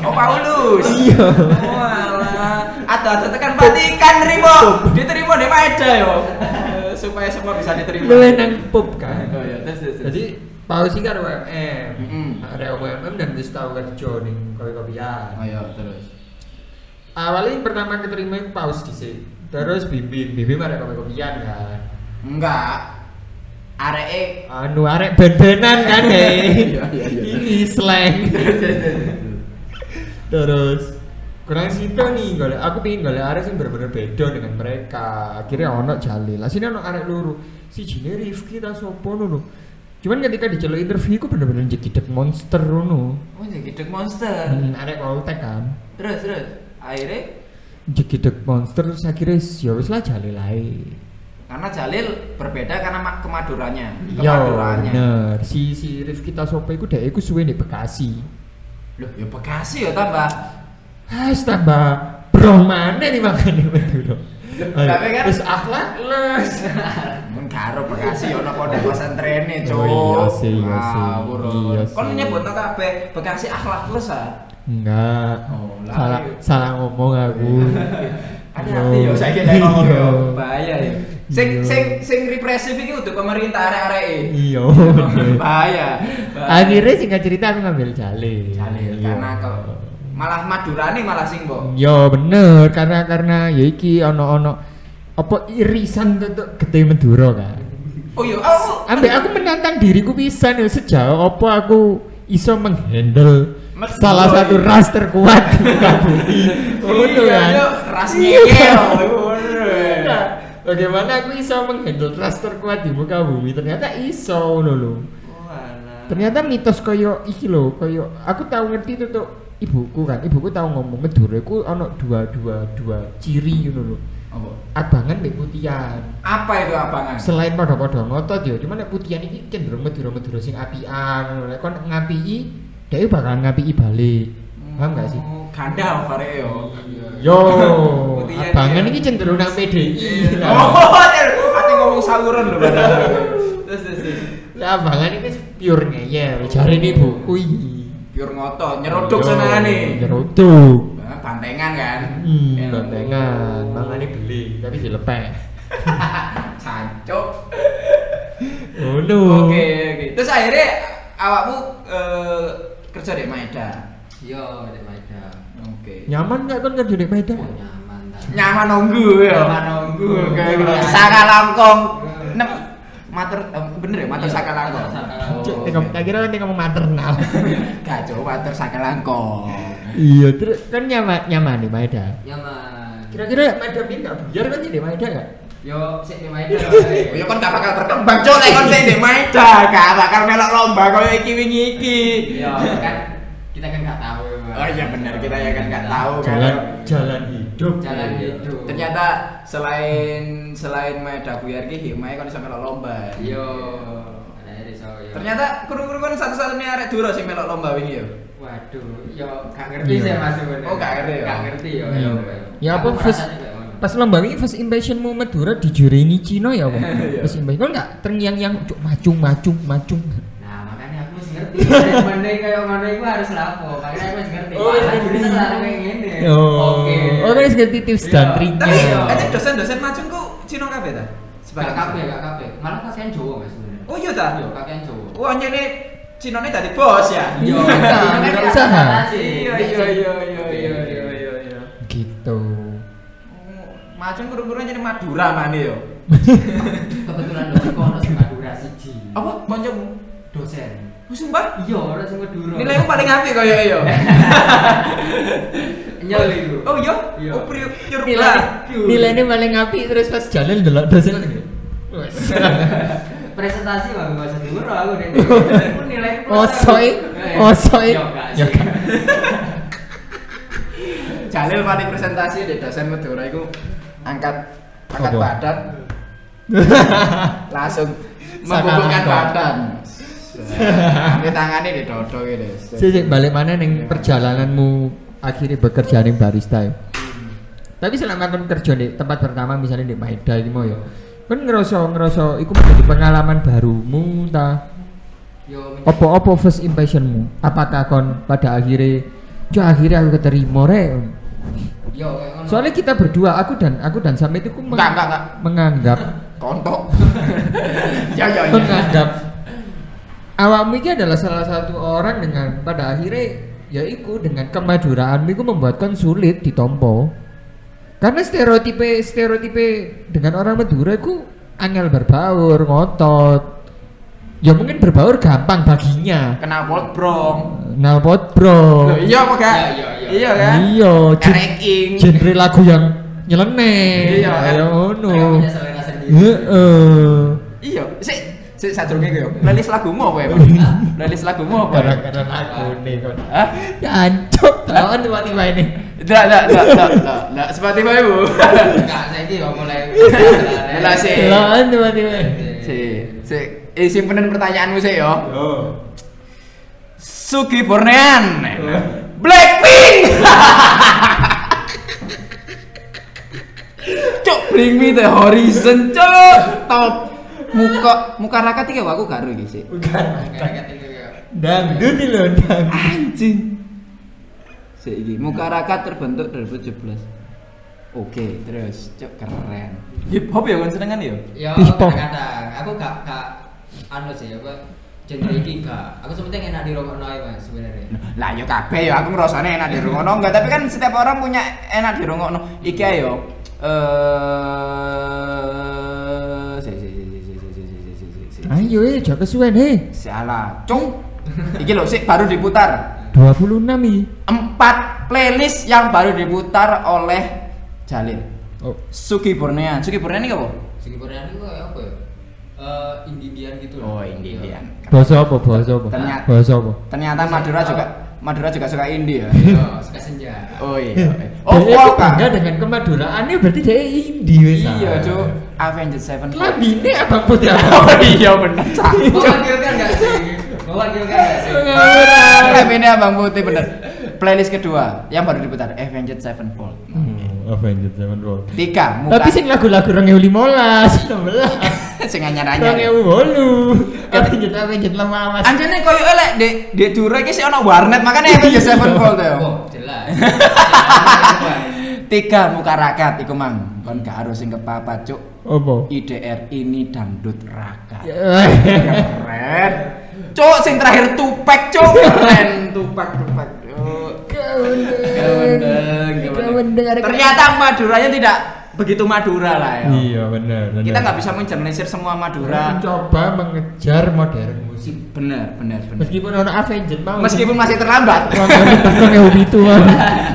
Speaker 1: Oh, Paulus. Oh,
Speaker 3: Iya.
Speaker 1: Walah, atau atau tekan patikan terima. Diterima di Maeda yo. Eh, <laughs> Supaya semua bisa diterima.
Speaker 3: lu enak
Speaker 1: Oh
Speaker 3: pop kan.
Speaker 1: ya, terus terus. terus.
Speaker 3: Jadi paus iki arek UMM.
Speaker 1: Mm-mm.
Speaker 3: Arek UMM dan wis tau kerja ning kopi-kopian.
Speaker 1: ayo oh, iya, terus.
Speaker 3: awalnya pertama keterima itu paus di terus bimbing bimbing ada kopi kopian kan
Speaker 1: Enggak. Areke
Speaker 3: anu arek ben-benan kan hei
Speaker 1: <laughs> Iya, iya, iya.
Speaker 3: ini
Speaker 1: <laughs>
Speaker 3: slang
Speaker 1: terus terus, terus.
Speaker 3: terus kurang situ nih golek aku pingin golek arek sing bener-bener beda dengan mereka akhirnya ono jalil lah sini ono arek luru si jine Rifki ta sopo nuno cuman ketika diceluk interview ku bener-bener jegidek monster nuno
Speaker 1: Oh, jadi gedek monster.
Speaker 3: hmm, arek koltek kan
Speaker 1: Terus terus. Akhirnya
Speaker 3: jegidek monster terus akhirnya ya wis lah jalil ae
Speaker 1: karena Jalil berbeda karena mak- kemadurannya.
Speaker 3: Yo,
Speaker 1: Kemadurannya.
Speaker 3: Ya, bener. Si si Rifki Tasopo iku dhek iku suwe di Bekasi.
Speaker 1: Loh, ya Bekasi ya tambah.
Speaker 3: Has tambah bro mana nih makane Madura.
Speaker 1: tapi kan-
Speaker 3: Wis akhlak les.
Speaker 1: Mun karo Bekasi ya, ono pondok konsentrene, Cuk.
Speaker 3: Oh, iya sih, iya sih.
Speaker 1: Ngawur,
Speaker 3: Iya
Speaker 1: Kon
Speaker 3: sih.
Speaker 1: nyebutno kabeh Bekasi akhlakless ah.
Speaker 3: Enggak.
Speaker 1: Oh, lah,
Speaker 3: salah
Speaker 1: iya.
Speaker 3: salah ngomong aku.
Speaker 1: Hati-hati yo
Speaker 3: Yo.
Speaker 1: saiki nek ngomong yo
Speaker 3: Iya.
Speaker 1: bahaya yo. Sing
Speaker 3: Iya.
Speaker 1: sing sing represif iki udah pemerintah arek-areke.
Speaker 3: Iya.
Speaker 1: <laughs> Bahaya. bahaya.
Speaker 3: Akhirnya singkat cerita aku ngambil jalil.
Speaker 1: Jalil
Speaker 3: Iya.
Speaker 1: karena kok malah Madurane malah sing kok.
Speaker 3: Yo Ya, bener karena karena ya iki ono ono apa irisan tuh gede Madura kan.
Speaker 1: Oh yo, oh.
Speaker 3: Ambek aku menantang diriku pisan ya sejauh apa aku iso menghandle
Speaker 1: Mas- iya,
Speaker 3: salah satu
Speaker 1: iya.
Speaker 3: ras terkuat di Bukabumi.
Speaker 1: <laughs>
Speaker 3: Ngono
Speaker 1: Iya,
Speaker 3: kan?
Speaker 1: yo, ras
Speaker 3: Iya.
Speaker 1: ngekel. Ngono.
Speaker 3: Nah, Bagaimana aku iso menghandle ras terkuat di muka bumi? Ternyata iso lho lho.
Speaker 1: Walah.
Speaker 3: Ternyata mitos koyo iki lho, koyo aku tahu ngerti itu tuh ibuku kan. Ibuku tahu ngomong medureku ono dua dua dua ciri ngono lho.
Speaker 1: Apa?
Speaker 3: Abangan mbek putian.
Speaker 1: Apa itu abangan?
Speaker 3: selain pada-pada ngotot ya cuman nek putian ini cenderung medura-medura sing apian ngono. nek kon ngapii dia bakalan ngapii balik paham gak sih
Speaker 1: Oh, Gandalf arek yo.
Speaker 3: yo
Speaker 1: Putian
Speaker 3: abangan
Speaker 1: iya.
Speaker 3: ini cenderung nang PDI <laughs> lah
Speaker 1: Oh, ate ngomong saluran lho padahal. Terus terus. terus.
Speaker 3: Lah, abangan ini pure ngeyel jari ini buku ini
Speaker 1: Pure ngotot, nyerodok senengane.
Speaker 3: nyeruduk
Speaker 1: Nah, Bantengan kan.
Speaker 3: hmm
Speaker 1: Ya.
Speaker 3: bantengan mangane beli tapi
Speaker 1: <laughs>
Speaker 3: dilepeh
Speaker 1: Ah, Sancok.
Speaker 3: oh
Speaker 1: Oke,
Speaker 3: no
Speaker 1: oke. Terus akhirnya awakmu eh, kerja di Maeda.
Speaker 2: Yo, Dek Maida.
Speaker 1: Oke.
Speaker 3: nyaman gak kon kerja di Medan
Speaker 2: Oh, nyaman ta.
Speaker 1: Nyaman nunggu ya.
Speaker 2: Nyaman nunggu.
Speaker 1: Oke.
Speaker 2: Nyaman.
Speaker 1: Saka langkong. Nem mater eh, bener ya mater
Speaker 2: Iya,
Speaker 1: saka langkong. Oh, iya.
Speaker 2: Saka
Speaker 3: Cuk,
Speaker 2: Langkong.
Speaker 3: tengok- tak kira nanti ngomong maternal
Speaker 1: Gak jauh mater saka langkong.
Speaker 3: iya terus kan nyaman nyaman di Maeda
Speaker 2: Iya, Nyaman.
Speaker 3: kira-kira Maeda ini nggak buyar kan jadi Maeda nggak
Speaker 2: Yo, sik Dek Maida.
Speaker 1: Oh, Ya kan gak bakal berkembang cok lek kon sing di Maeda, gak bakal melok lomba koyo iki wingi iki.
Speaker 2: Yo, kan kita kan nggak tahu. Mas.
Speaker 1: Oh iya benar kita ya kan nggak tahu
Speaker 3: jalan
Speaker 1: kan.
Speaker 3: jalan hidup Iya.
Speaker 2: Jalan hidup.
Speaker 1: Ternyata selain selain Maeda buyar ki Himae kon iso melok lomba.
Speaker 2: Yo, ada iso yo.
Speaker 1: Ternyata kru-kru kan satu-satunya arek Duro sing melok lomba wingi ya.
Speaker 2: Waduh, yo gak ngerti
Speaker 3: Iya.
Speaker 2: sih Mas.
Speaker 1: Oh, gak ngerti ya?
Speaker 2: Gak ngerti yo.
Speaker 3: Iya. Ya, apa,
Speaker 2: Aku
Speaker 3: Fis?
Speaker 2: merasanya kayak ngono.
Speaker 3: pas lomba ini first impressionmu Madura dijurini Cino ya <laughs> bang
Speaker 1: Iya.
Speaker 3: first impression kan nggak terngiang yang macung macung macung
Speaker 2: Nah, makanya aku masih ngerti. Dari Mending kayak ngono iku harus lapo. Makanya aku masih ngerti.
Speaker 3: Oh,
Speaker 2: Wah,
Speaker 3: iya,
Speaker 2: aku
Speaker 3: ngerti.
Speaker 2: bisa larang kayak gini.
Speaker 3: oh oh kan ngerti tips
Speaker 2: Iya.
Speaker 3: dan
Speaker 1: Tapi
Speaker 2: Iya.
Speaker 3: triknya
Speaker 1: katanya dosen-dosen macung ku Cina kabeh ta?
Speaker 2: Gak
Speaker 1: Sebagai
Speaker 2: kape, gak kape. Malah kasihan Jawa Mas sebenarnya.
Speaker 1: Oh iya ta.
Speaker 2: Yo, kasihan Jawa.
Speaker 1: Wah ini Cina ini tadi bos ya.
Speaker 3: Iya,
Speaker 2: kan
Speaker 3: nggak
Speaker 2: kita
Speaker 3: usah.
Speaker 2: batasi.
Speaker 1: Iya iya iya iya iya iya iya iya.
Speaker 3: gitu
Speaker 1: Macung kurung-kurung jadi Madura mana yo?
Speaker 2: Kebetulan dosen kono sing Madura siji.
Speaker 1: Oh. Apa? Bonjomu?
Speaker 2: Dosen.
Speaker 1: Oh, sumpah?
Speaker 2: Iya, orang sing Madura.
Speaker 1: Nilaimu paling apik kaya ya.
Speaker 2: nyel iku.
Speaker 1: Oh iya?
Speaker 2: Iya.
Speaker 1: Oh priuk priuk
Speaker 3: nilai
Speaker 1: lah.
Speaker 3: nilainya paling apik terus pas jalan delok dosen gini. Wes.
Speaker 2: presentasi mah bahasa timur lah aku deh. Pun nilai
Speaker 3: Osoi, osoi.
Speaker 2: Ya
Speaker 3: Ya,
Speaker 2: kan.
Speaker 3: kan.
Speaker 1: Jalil paling presentasi di dosen Madura iku angkat angkat
Speaker 3: Apa? <laughs>
Speaker 1: badan langsung
Speaker 3: Sakan
Speaker 1: membungkukkan
Speaker 3: angkat.
Speaker 1: badan. Ambil tangannya di dodo gitu.
Speaker 3: Sik balik mana neng perjalananmu akhirnya bekerja neng barista ya? Tapi selama kan kerja di tempat pertama misalnya di Maeda gitu ya. Kan ngerasa ngerasa iku menjadi pengalaman barumu ta
Speaker 2: Yo
Speaker 3: apa apa first impressionmu? Apakah kon pada akhirnya Cuk akhirnya aku keterima rek.
Speaker 2: yo kayak ngono.
Speaker 3: Soalnya kita berdua aku dan aku dan Sam itu ku meng-
Speaker 1: Enggak, enggak, enggak.
Speaker 3: menganggap
Speaker 1: Kontok. <laughs> ya ya ya.
Speaker 3: menganggap awakmu ini adalah salah satu orang dengan pada akhirnya yaiku dengan kemaduraanmu itu membuatkan sulit ditompo karena stereotipe stereotipe dengan orang Madura itu angel berbaur ngotot ya mungkin berbaur gampang baginya
Speaker 1: Kena brong.
Speaker 3: nalpot bro
Speaker 1: Loh, iya apa gak?
Speaker 2: Iya, iya, iya.
Speaker 1: Iya kan?
Speaker 3: Oh. Iya, Jun.
Speaker 1: Ranking.
Speaker 3: genre lagu yang nyeleneh
Speaker 1: Iya,
Speaker 3: ya
Speaker 2: Mereka
Speaker 3: ono
Speaker 2: punya selera sendiri.
Speaker 3: heeh
Speaker 1: Iya, sik sik sadurunge ku yo. Playlist lagumu apa ya,
Speaker 3: <laughs>
Speaker 1: Pak? Hah? Playlist lagumu apa? ya?
Speaker 3: gara-gara lagu nih kon
Speaker 1: Hah?
Speaker 3: Jancuk, lawan tiba-tiba ini.
Speaker 1: Ndak, ndak, ndak, ndak, ndak, ndak, seperti Pak Ibu. <laughs>
Speaker 2: Enggak, saya ini yo mulai.
Speaker 1: Lah, sih. Eh.
Speaker 3: Lawan tiba-tiba.
Speaker 1: Sik, sik eh simpenen pertanyaanmu sik yo.
Speaker 3: Oh.
Speaker 1: Suki Bornean. Blackpink. <laughs> Cuk, bring me the horizon, cuk. Top. Muka muka raka tiga aku karo iki sik.
Speaker 3: Bukan.
Speaker 2: Kayak gitu ya.
Speaker 3: Dangdut nih loh, dangdut.
Speaker 1: Anjing. Sik iki muka raka terbentuk 2017. Oke, terus cuk keren. Hip hop ya kan senengan ya?
Speaker 2: Ya,
Speaker 3: Pispong.
Speaker 2: kadang-kadang aku gak gak anu sih apa genre iki gak. Aku sebenarnya enak di rokok mas sebenarnya.
Speaker 1: Lah ya kabeh ya aku ngrasane enak dirungokno enggak, tapi kan setiap orang punya enak dirungokno. Iki ayo eh si si si si si si si si si si.
Speaker 3: Ayo, eh, jangan kesuwen eh.
Speaker 1: Salah, cung. Iki lho sik baru diputar.
Speaker 3: 26 nih.
Speaker 1: Empat playlist yang baru diputar oleh Jalil.
Speaker 3: Oh.
Speaker 1: Suki Bornean. Suki Bornean ini apa?
Speaker 2: Singaporean itu kayak apa ya? Eh, Indian gitu
Speaker 1: Oh, Indian.
Speaker 3: Bahasa apa? Bahasa apa?
Speaker 1: Ternyata-
Speaker 3: Bahasa apa?
Speaker 1: Ternyata Madura juga Madura juga suka India.
Speaker 2: Iya, suka senja.
Speaker 1: Oh iya. Oh,
Speaker 3: Dia itu
Speaker 1: Fuoka.
Speaker 3: bangga dengan kemaduraannya berarti dia indie wes.
Speaker 1: Iya, Cuk. Avenged Sevenfold.
Speaker 3: Kelabine abang <laughs> Hmm, putih
Speaker 1: Oh
Speaker 3: apa?
Speaker 1: iya bener. Cak.
Speaker 2: Mewakilkan gak sih? Mewakilkan gak sih?
Speaker 1: Lagunya Abang Putih bener. Playlist kedua yang baru diputar Avenged Sevenfold.
Speaker 3: Avenged Sevenfold.
Speaker 1: Tiga muka.
Speaker 3: Tapi sing lagu-lagu 2015, 16.
Speaker 1: sing anyar-anyar.
Speaker 3: Rong ewu wolu. Avenged Avenged lama mas.
Speaker 1: Anjene koyo elek dek dek dure iki sik ono warnet makane Avenged Sevenfold ya. to.
Speaker 2: Oh, jelas.
Speaker 1: Tiga muka rakat iku mang. Kon gak harus sing kepapat cuk.
Speaker 3: Opo?
Speaker 1: IDR ini dangdut rakat.
Speaker 3: Eh, <laughs>
Speaker 1: Keren. Cuk sing terakhir tupek cuk. Keren tupak tupak. Cuk.
Speaker 3: Gawendeng, gawendeng. ada-
Speaker 1: Ternyata Maduranya tidak begitu Madura lah ya.
Speaker 3: Iya benar. benar.
Speaker 1: Kita nggak bisa menjernalisir semua Madura.
Speaker 3: mencoba mengejar modern musik.
Speaker 1: Bener, bener, bener.
Speaker 3: Meskipun ono Avenged mau.
Speaker 1: Meskipun masih
Speaker 3: <laughs>
Speaker 1: terlambat.
Speaker 3: Rong ewu pitu mau.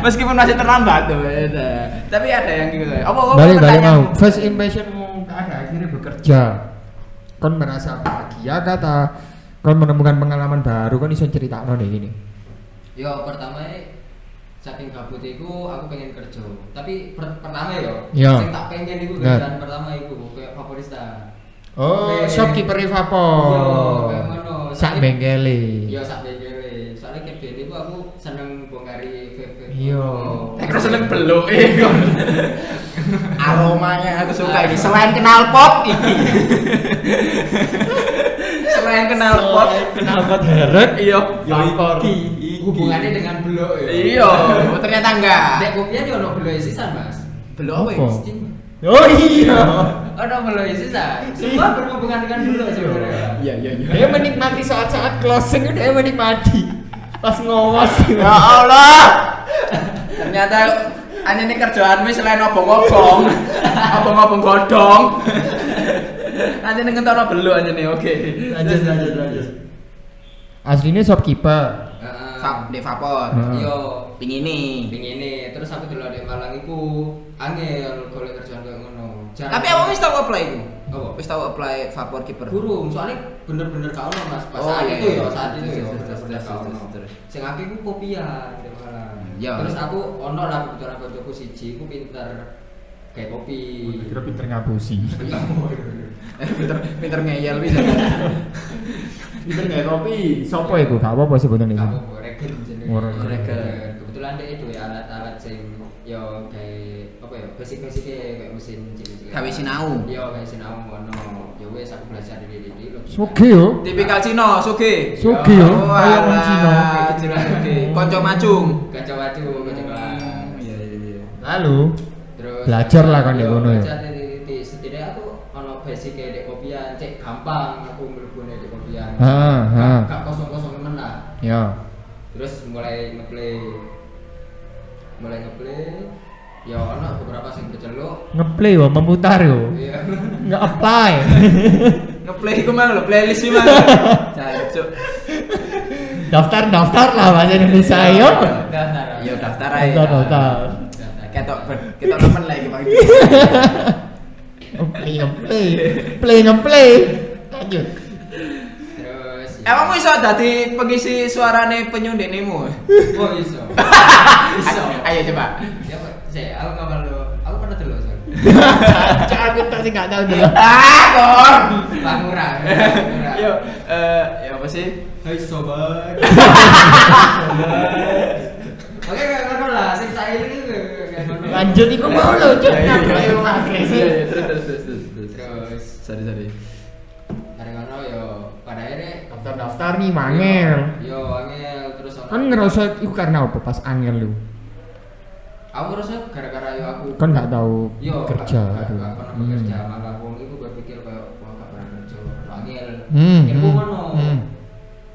Speaker 1: Meskipun masih terlambat tuh. beda. Tapi ada yang gitu. ya. Apa apa
Speaker 3: Balik balik mau.
Speaker 1: pertanyaan?
Speaker 3: First impressionmu ada akhirnya bekerja. Kon merasa bahagia kata. Kon menemukan pengalaman baru kon iso cerita nih gini.
Speaker 2: Yo, pertama saking gabut iku aku pengen kerja. Tapi per- pertama yo,
Speaker 3: Iya.
Speaker 2: sing tak pengen iku
Speaker 3: Bener.
Speaker 2: kerjaan pertama iku kayak favorista.
Speaker 3: Oh,
Speaker 2: Oke.
Speaker 3: shopkeeper Rivapo.
Speaker 2: Iya, kayak ngono.
Speaker 3: Sak bengkele.
Speaker 2: Yo sak bengkele. Soalnya kerjaan iku aku seneng bongkari vape.
Speaker 3: Iya.
Speaker 1: Eh, Aku seneng beluk eh, kon. Aromanya aku suka ini. Selain kenal pop ini. <laughs> Selain kenal pop.
Speaker 3: Kenal pot heret.
Speaker 1: Iya,
Speaker 3: Yo, iki,
Speaker 2: Hubungannya dengan blok ya.
Speaker 1: Iya, ternyata enggak.
Speaker 2: Dek kopian yo ono blok sisan, Mas.
Speaker 1: Belum apa ya?
Speaker 3: Apa? Oh iya.
Speaker 2: Ono blok sisan. Semua berhubungan dengan blok sebenarnya.
Speaker 1: Iya, iya, iya.
Speaker 3: Dia menikmati saat-saat closing dia menikmati. Pas ngawas.
Speaker 1: Ya Allah. Ternyata hanya ini kerjaanmu selain obong-obong, obong-obong godong. Hanya ini ngentono belu hanya ini, oke.
Speaker 3: Lanjut lanjut lanjut. aslinya shopkeeper
Speaker 2: Heeh.
Speaker 1: Sap di Vapor.
Speaker 3: Hmm.
Speaker 2: Yo,
Speaker 1: Pingini.
Speaker 2: pingin ini. Terus aku dulu di Malang iku angel golek kerjaan koyo ngono. Jarang- Oh,
Speaker 1: Tapi awak wis tau apply iku.
Speaker 2: Apa?
Speaker 1: Wis tau apply Vapor kiper.
Speaker 2: Gurung, soalnya bener-bener kau ono mas pas
Speaker 1: Oh,
Speaker 2: saat
Speaker 1: iya,
Speaker 2: itu
Speaker 1: iya.
Speaker 2: ya saat itu
Speaker 1: Terus,
Speaker 2: ya
Speaker 1: terus,
Speaker 2: bener-bener
Speaker 1: terus,
Speaker 2: kau
Speaker 1: terus,
Speaker 2: ono.
Speaker 1: terus.
Speaker 2: Sing aku iku kopian di Malang.
Speaker 1: Iya.
Speaker 2: Terus aku ono lah kebetulan bojoku siji iku pinter kayak kopi.
Speaker 3: kira pinter ngabusi
Speaker 2: Iya. <laughs>
Speaker 1: Eh, pinter pinter ngeyel bisa.
Speaker 3: pinter nggak kopi sopo iku gak apa-apa sebetulnya
Speaker 2: Kamu regen jenenge.
Speaker 3: Iya. Oh, regen.
Speaker 1: Regen.
Speaker 2: Kebetulan deh itu ya alat-alat sing yo kayak apa ya basic-basicnya kayak mesin cilik-cilik.
Speaker 1: Gawe sinau.
Speaker 2: Iya, kayak sinau ono. Ya wes aku belajar di diri
Speaker 3: Soge yo
Speaker 1: Tipikal Cino, Sugi.
Speaker 3: Soge yo
Speaker 1: Oh,
Speaker 3: kaya wong Cina
Speaker 1: alah, Cino Sugi. Konco Macung.
Speaker 2: Kacau aja, kacau kelas.
Speaker 1: Iya, iya, iya.
Speaker 3: lalu
Speaker 2: Terus
Speaker 3: Belajar lah kan di kono ya.
Speaker 2: Belajar di titik setidaknya aku ono basic di kopian, cek gampang aku mlebune di kopian.
Speaker 3: Ah, ah.
Speaker 2: Gak kosong-kosong temen lah.
Speaker 3: ya
Speaker 2: Terus mulai ngeplay mulai ngeplay ya ono beberapa sing keceluk.
Speaker 3: ngeplay yo memutar yo
Speaker 2: Iya.
Speaker 3: nggak apply
Speaker 1: Ngeplay iku mang lho, playlist iki mang. Jancuk.
Speaker 3: daftar daftar lah bahasa Indonesia yo
Speaker 2: Daftar.
Speaker 1: Yo Iya, daftar ae.
Speaker 3: daftar daftar
Speaker 2: Daftar.
Speaker 1: Ketok ketok temen lagi Bang.
Speaker 3: ngeplay ngeplay play ngeplay <laughs> lanjut
Speaker 2: Terus. ya.
Speaker 1: Emang iso dadi pengisi suarane penyundeknemu?
Speaker 2: Oh,
Speaker 1: <laughs>
Speaker 2: iso. Iso.
Speaker 1: Ayo coba.
Speaker 2: Ya, Pak, saya aku kabar lo. Aku pernah dulu, Son.
Speaker 3: cara pinter sih nggak tahu dulu
Speaker 1: Ah, kor.
Speaker 2: Pangurang.
Speaker 1: Yo, eh, ya apa sih?
Speaker 2: Hai
Speaker 1: <laughs>
Speaker 2: sobat. Oke, gak ngono lah, sing saiki gak ngono.
Speaker 3: lanjut iku mau lo cuk Nah,
Speaker 1: Iya, iya,
Speaker 3: ngeplay
Speaker 1: iya.
Speaker 3: yo agresif
Speaker 1: Iya, iya, terus, terus, terus, terus, terus.
Speaker 2: Terus
Speaker 1: Sorry, sorry.
Speaker 2: hari ngono yo pada akhirnya
Speaker 3: daftar daftar nih mangel
Speaker 2: Yo angel terus ono-
Speaker 3: kan ngerasa itu karena apa pas angel lu
Speaker 2: Aku ngerasa gara-gara yo aku
Speaker 3: kan nggak tahu
Speaker 2: yo
Speaker 3: kerja
Speaker 2: gak-
Speaker 3: aduh
Speaker 2: gak pernah
Speaker 3: Hmm.
Speaker 2: bekerja malah wong iku berpikir kayak wah gak pernah kerja. Angel.
Speaker 3: Hmm,
Speaker 2: Ilmu
Speaker 3: hmm,
Speaker 2: ngono.
Speaker 3: hmm.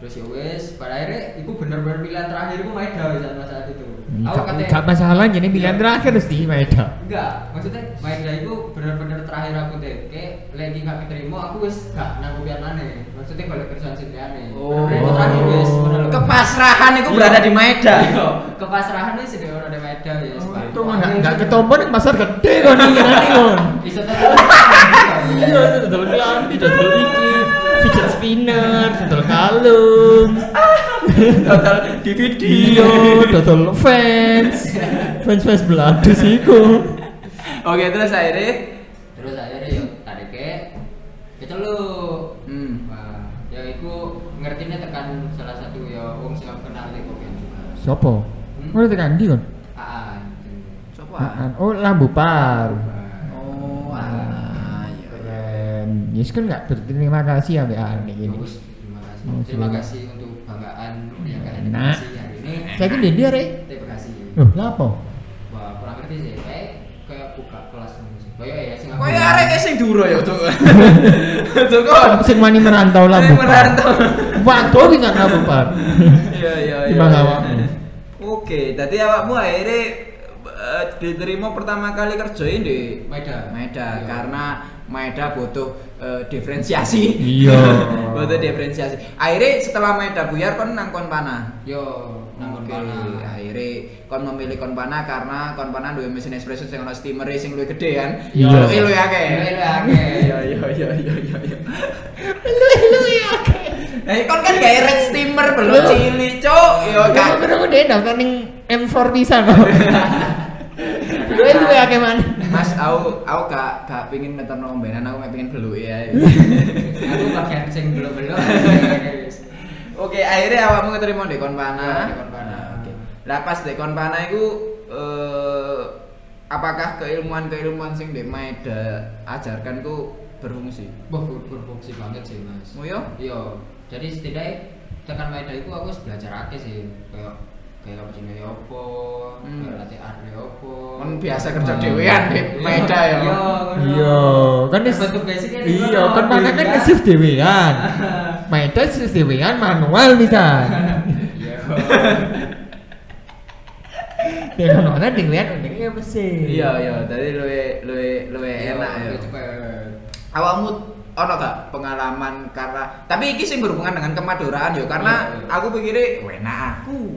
Speaker 2: Terus yo wes pada akhirnya iku bener-bener pilihan terakhir iku Maeda wis sama saat itu. Aku
Speaker 3: Hmm, Gak,
Speaker 2: katanya-
Speaker 3: gak masalah jadi pilihan
Speaker 2: Iya.
Speaker 3: terakhir sih Maeda
Speaker 2: Enggak, maksudnya Maeda itu bener-bener terakhir aku TK lagi gak keterima, aku wis gak nanggupian aneh Maksudnya kalau kerjaan sendiri aneh
Speaker 1: Oh.
Speaker 2: Bener-bener itu terakhir wis, bener loh.
Speaker 1: Kepasrahan itu
Speaker 2: Iya.
Speaker 1: berada di Medan.
Speaker 2: <laughs> Iya, Kepasrahan wis di orang di Maeda ya wis, Pak.
Speaker 3: Oh, itu mah nggak nggak ketemu di pasar gede kan ini nanti kan
Speaker 2: Bisa terus
Speaker 3: <laughs> iya dodol kelambi dodol iki fidget spinner dodol kalung
Speaker 1: Total DVD.
Speaker 3: iya dodol fans fans fans beladus iku
Speaker 1: Oke, terus akhirnya
Speaker 2: Terus akhirnya yuk tarik keceluk
Speaker 1: hmm.
Speaker 2: Wah, ya iku ngertinya tekan salah satu ya wong sing aku kenal di Kopian juga
Speaker 3: siapa? Mana tekan di kan?
Speaker 2: Aan
Speaker 1: Sopo? ah?
Speaker 3: Apaan? Oh lambu par
Speaker 1: Oh, ah, iya.
Speaker 3: Keren Yes kan nggak berterima kasih ya Mbak ini gini
Speaker 2: Bagus, terima kasih.
Speaker 3: Oh,
Speaker 2: terima
Speaker 3: silakan.
Speaker 2: kasih untuk banggaan yang kalian
Speaker 3: Enak.
Speaker 2: kasih hari ini.
Speaker 3: Saya kan dia rek
Speaker 2: Terima kasih.
Speaker 3: Loh lapo?
Speaker 2: Wah, kurang ngerti sih. Kayak kayak buka kelas musik. Kayak ya sing aku-
Speaker 1: Kau ya arek sing duro ya <laughs> tuh. Tuh
Speaker 3: Sing-
Speaker 1: kok.
Speaker 3: Sing mani merantau lambu
Speaker 1: Sing
Speaker 3: par
Speaker 1: merantau.
Speaker 3: Waduh ini kan lambu par <laughs>
Speaker 1: Iya iya iya.
Speaker 3: Timbang awakmu.
Speaker 1: Oke, tadi awakmu akhirnya eh, diterima pertama kali kerjain di
Speaker 2: Maeda.
Speaker 1: Maeda
Speaker 2: Iya.
Speaker 1: karena Maeda butuh eh, diferensiasi.
Speaker 3: Iya.
Speaker 1: <laughs> butuh diferensiasi. Akhirnya setelah Maeda buyar kon nang Konpana.
Speaker 2: yo nangkon
Speaker 1: Oke,
Speaker 2: pana.
Speaker 1: akhirnya kon memilih Konpana karena Konpana duwe mesin espresso sing ono steamer sing luwih gede kan.
Speaker 3: Iya.
Speaker 1: Luwih luwih akeh.
Speaker 2: Luwih luwih akeh.
Speaker 1: Iya iya iya iya iya. iya.
Speaker 3: ya,
Speaker 1: Eh kon kan gak red steamer belum
Speaker 3: Loh.
Speaker 1: cilik, cuk. Yo
Speaker 3: Kamu
Speaker 1: kan.
Speaker 3: kira aku dia daftar ning M4 bisa kok Dua itu ya kemana?
Speaker 1: Mas, aku aku gak gak pengin ngeterno ombenan, aku mek pengin beluk ya.
Speaker 2: Aku bagian sing belum-belum.
Speaker 3: <laughs>
Speaker 1: Oke, akhirnya awakmu keterima di Konpana.
Speaker 2: Ya, di Konpana.
Speaker 1: Oke. Lah pas di Konpana iku eh, apakah keilmuan-keilmuan sing di Maeda ajarkan ku berfungsi?
Speaker 2: Wah, ber- berfungsi banget sih, Mas.
Speaker 1: Muyo?
Speaker 2: Yo, jadi setidaknya tekan Maeda itu aku harus belajar akeh sih. Kayak kayak apa jenenge apa,
Speaker 1: Hmm.
Speaker 2: kayak latih arek apa.
Speaker 1: Kan biasa kerja
Speaker 2: Ah.
Speaker 1: dhewean di
Speaker 2: Iya,
Speaker 1: Maeda ya.
Speaker 2: Iya, ngono.
Speaker 3: Iya kan dis-
Speaker 2: Bentuk basicnya di
Speaker 3: Iya
Speaker 2: kono,
Speaker 3: kan mana kan
Speaker 2: beda.
Speaker 3: shift dewean Maeda shift dewean manual <laughs> bisa
Speaker 2: Iya.
Speaker 3: Ya kan mana dewean undangnya mesin
Speaker 1: Iya, iya, tadi luwe luwe luwe
Speaker 2: Iya,
Speaker 1: enak ya.
Speaker 2: cepet.
Speaker 1: Awakmu ono gak pengalaman karena tapi iki sing berhubungan dengan kemaduraan yo karena
Speaker 2: Iya, iya.
Speaker 1: aku pikirnya wena aku.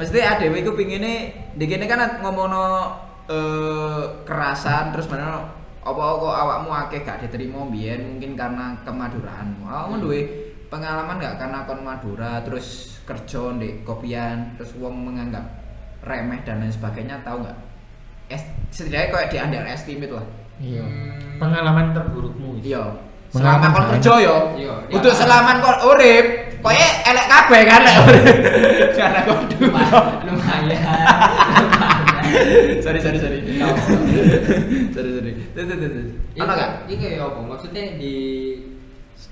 Speaker 1: Maksudnya adewe iku pingine dikene kan ngomono eh, kerasan terus mana apa kok awakmu akeh gak diterima mbiyen mungkin karena kemaduraanmu. Awakmu
Speaker 2: Iya.
Speaker 1: duwe pengalaman gak karena kon Madura terus kerja di kopian terus wong menganggap remeh dan lain sebagainya tahu nggak? Es- Setidaknya kayak di underestimate lah.
Speaker 3: Iya.
Speaker 2: Hmm.
Speaker 3: Pengalaman terburukmu.
Speaker 1: Iya. Selama kon
Speaker 3: Pengalaman kan?
Speaker 1: kerja yo.
Speaker 2: Iya.
Speaker 1: Untuk selaman kon urip, koye elek kabeh kan lek urip. Karena kon dulu.
Speaker 2: Lumayan, lumayan.
Speaker 1: Iya. Sorry sorry sorry.
Speaker 2: Iya.
Speaker 1: Sorry sorry. Terus terus terus. Ono
Speaker 2: Iya,
Speaker 1: gak?
Speaker 2: Iya ya apa? Maksudnya di